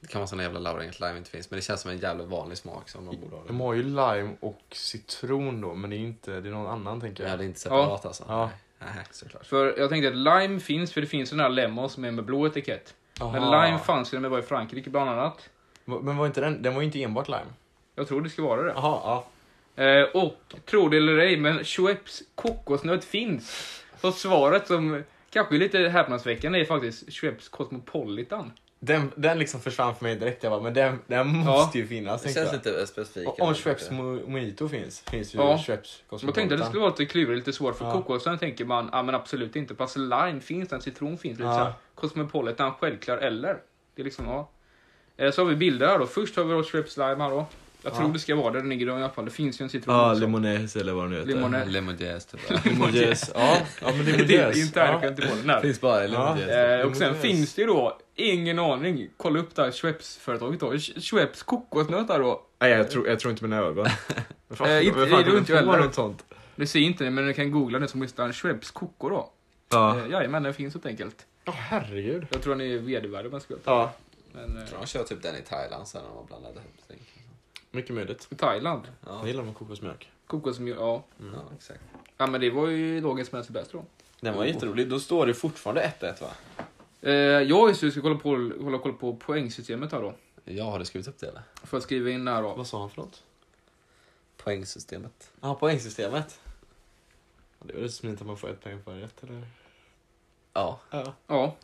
Det kan vara sån jävla lauring att lime inte finns. Men det känns som en jävla vanlig smak som de borde ha. De Det. har ju lime och citron då, men det är inte, det är någon annan tänker Ja, jag. det är inte separat alltså. Ja. Nej, nej, såklart. För jag tänkte att lime finns, för det finns den här lemon som är med blå etikett. Men Aha. lime fanns ju när vi var i Frankrike bland annat. Va- Men var inte den, den var ju inte enbart lime? Jag tror det ska vara det. Jaha, ja. Eh, och, tro det eller ej, men Schweppes kokosnöt finns. Så svaret som Kanske lite häpnadsväckande är faktiskt Schweppes Cosmopolitan. Den, den liksom försvann för mig direkt. Jag bara, men den, den måste ju finnas. Det tänkte känns jag. lite eh, specifikt. Och Om Schweppes mo- Mojito finns, finns ju Ja. Schweppes Jag tänkte att det skulle vara lite klurigt, lite svårt för Ja. kokosen tänker man, ja men absolut inte. Fast lime finns den, citron finns det. Ja. Ja. Cosmopolitan, självklar eller. Det är liksom, ja. Eh, Så har vi bilder här då. Först har vi då Schweppes lime här då. Jag Ja. tror det ska vara där den ligger då i alla fall. Det finns ju en citron Ja, också. Limones eller vad det nu heter. Limone- Nej. Lemogäs typ. Ja. Limones. Ja, ja, men Det är Limones. Ja. internskämt i Polen där. Finns bara i Ja. Lemogäs. Eh, och sen Limones. finns det ju då, ingen aning, kolla upp det här Schweppes-företaget då. Sch- Schweppes kokosnöt där då. Nej, jag tror, jag tror inte mina ögon. Vad fan- Eh, inte- vad fan, det är inte får jag heller. något sånt. Du ser inte det, men du kan googla det som listan Schweppes kokor då. Ja. Eh, Jajamän, den finns helt enkelt. Ja, herregud. Jag tror den är vedervärdig om jag ska vara Ja, Men eh, Jag tror de kör typ den i Thailand sen när de har blandat ihop ting. mycket möjligt. Thailand, Ja, Jag gillar med kokosmjölk. kokosmjöl, ja. ja, Mm. exakt. Ja men det var ju lagen som helst bäst då. Den var jätterolig. Då står det fortfarande 1-1 va? Eh, jag just nu ska kolla, på, kolla, kolla på poängsystemet här då. Ja, har du skrivit upp det eller? Får jag skriva in där då? Vad sa han för något? Poängsystemet. Ja, ah, poängsystemet. Ja, Det är väl smidigt att man får ett poäng för rätt, eller? Ja. Ja. Ja.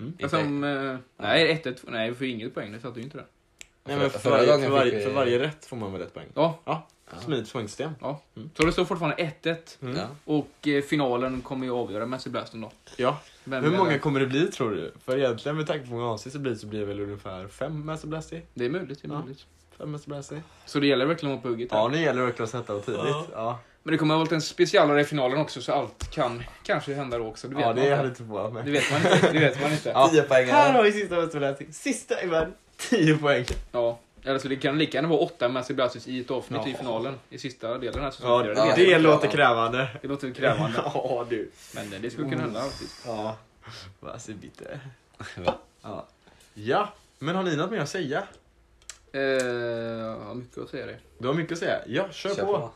Mm. Alltså, om, eh, nej, 1-1, nej vi får inget poäng, det satte ju inte det. Nej, men Förra- för, förra varje, gången för, varje, fick vi- för varje rätt får man väl ett poäng? Ja, Ja, Ja. smidigt poängsystem. så det står fortfarande 1-1 Mm. ja. och eh, finalen kommer ju avgöra Messi Blasten då. Ja. Vem Hur är många det? kommer det bli tror du? För egentligen med tanke på hur många avsnitt det blir så blir det väl ungefär fem Master Blasty? Det är möjligt, det är Ja. möjligt. Fem Master Blasty? Så det gäller verkligen att vara på hugget här. Ja, nu gäller det verkligen att sätta det tidigt. Ja, Men det kommer att ha varit en specialare i finalen också så allt kan kanske hända då också. Det vet, ja det man, är jag inte. lite förvånad det med. vet man inte. Det vet man inte. Ja. Tio poäng. Här har vi sista Master Blasty. Sista i världen. 10 poäng. Ja, eller så det kan lika gärna vara åtta Messi Blasius i ett avsnitt Ja. i finalen. I sista delen här Ja, säsongen. det, Ja, det, vet jag. det- låter krävande. det låter krävande, Ja, du. men det skulle kunna hända. faktiskt. Ja. Vad så bitter. Ja. Ja, men har ni något mer att säga? Eh, jag har mycket att säga det. Du har mycket att säga. Ja, kör, Kör på. på.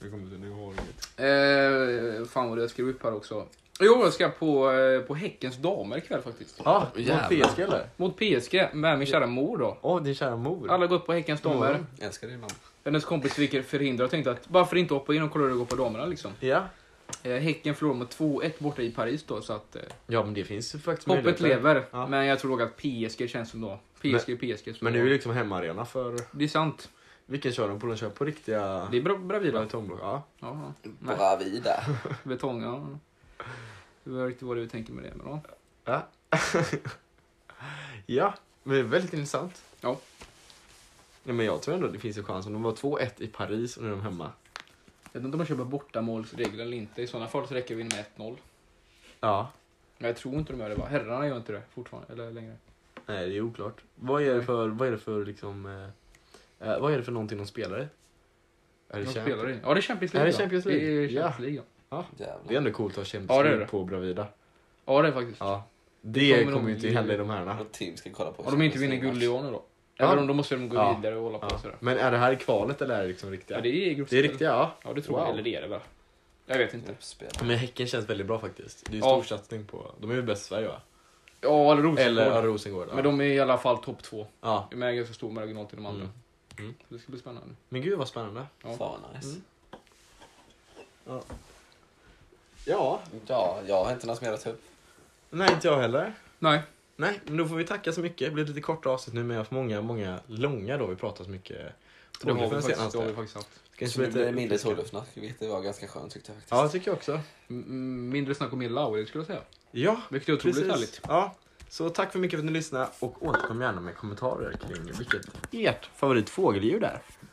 Jag kommer inte ihåg det. Eh, fan vad det jag skrev upp här också. Jo, jag ska på, eh, på Häckens damer ikväll faktiskt. Ja, ah, Jävlar. mot PSG eller? Mot PSG med min kära mor då. Åh, din kära mor. Alla går upp på Häckens damer. Mm. Jag älskar din mamma. Hennes kompis vilket förhindrar och tänkte att varför inte hoppa in och kolla hur det går på damerna liksom. Ja. Eh, häcken förlorade mot 2-1 borta i Paris då så att eh, ja, men det finns ju faktiskt hoppet möjligheter. lever. Ja. Men jag tror nog att PSG känns som då. PSG, PSG. så- Men nu är det liksom hemmaarena för... Det är sant. Vilken kör de på? De kör på riktiga... Det är bra, bra bilar. betongblock. Ja. Ja, ja. Nej. Bravida. betong. Ja. Jag vet inte vad du tänker med det. Men ja. Ja. ja, men det är väldigt intressant. Ja. Nej, men jag tror ändå det finns en chans. Om de var 2-1 i Paris och nu är de hemma. Jag vet inte om de köper bortamålsregler eller inte. I sådana fall så räcker vi med 1-0. Ja. Men jag tror inte de gör det. Va? Herrarna gör inte det fortfarande. Eller längre. Nej, det är oklart. Vad är det för, vad är det för liksom... Eh, eh, vad är det för någonting de spelar i? Är De det Champions- spelar i. Ja, det är Champions Är League. det ja. Champions League? Det är Ja. Champions League ja. Det är Jävlar. ändå coolt att ha Champions Ja, det är League det. på Bravida. ja, det är faktiskt. Ja. Det, Det kommer kommer, nog ju inte bli- hända i de här. Och Tim ska kolla på. Om de inte vinner guld i år nu då. Eller Ja. om de måste de gå Ja. vidare och hålla på Ja. sådär. Men är det här i kvalet eller är det liksom riktiga? Ja, det är Det är gruppspel. riktiga, ja. Ja, det tror Wow. jag. Eller det är det väl. Jag vet inte. Gruppspel. Men Häcken känns väldigt bra faktiskt. Det är ju Ja. stor satsning på... De är ju bäst i Sverige va? Ja, eller Rosengård. Eller ja, Rosengård. Ja. Men de är i alla fall topp två. ja. Med ganska stor marginal till de andra. Mm. Mm. Så det ska bli spännande. Men gud vad spännande. Ja. Fan vad nice. Mm. Ja. Ja, jag har inte något mer att ta upp. Nej, inte jag heller. Nej, Nej, men då får vi tacka så mycket. Det blev lite korta avsnitt nu, men jag har haft många, många långa då. Vi pratar så mycket. det har vi, Tråkigt faktiskt, det har vi senaste. faktiskt haft. Kanske Så det blir lite... mindre tågluftnack, vilket var ganska skönt tyckte jag faktiskt. Ja, tycker jag också. M- mindre snack om min Lauri skulle jag säga. Ja, Vilket är otroligt precis. härligt. Ja. Så tack för mycket för att ni lyssnade och återkom gärna med kommentarer kring vilket ert favoritfågeldjur är.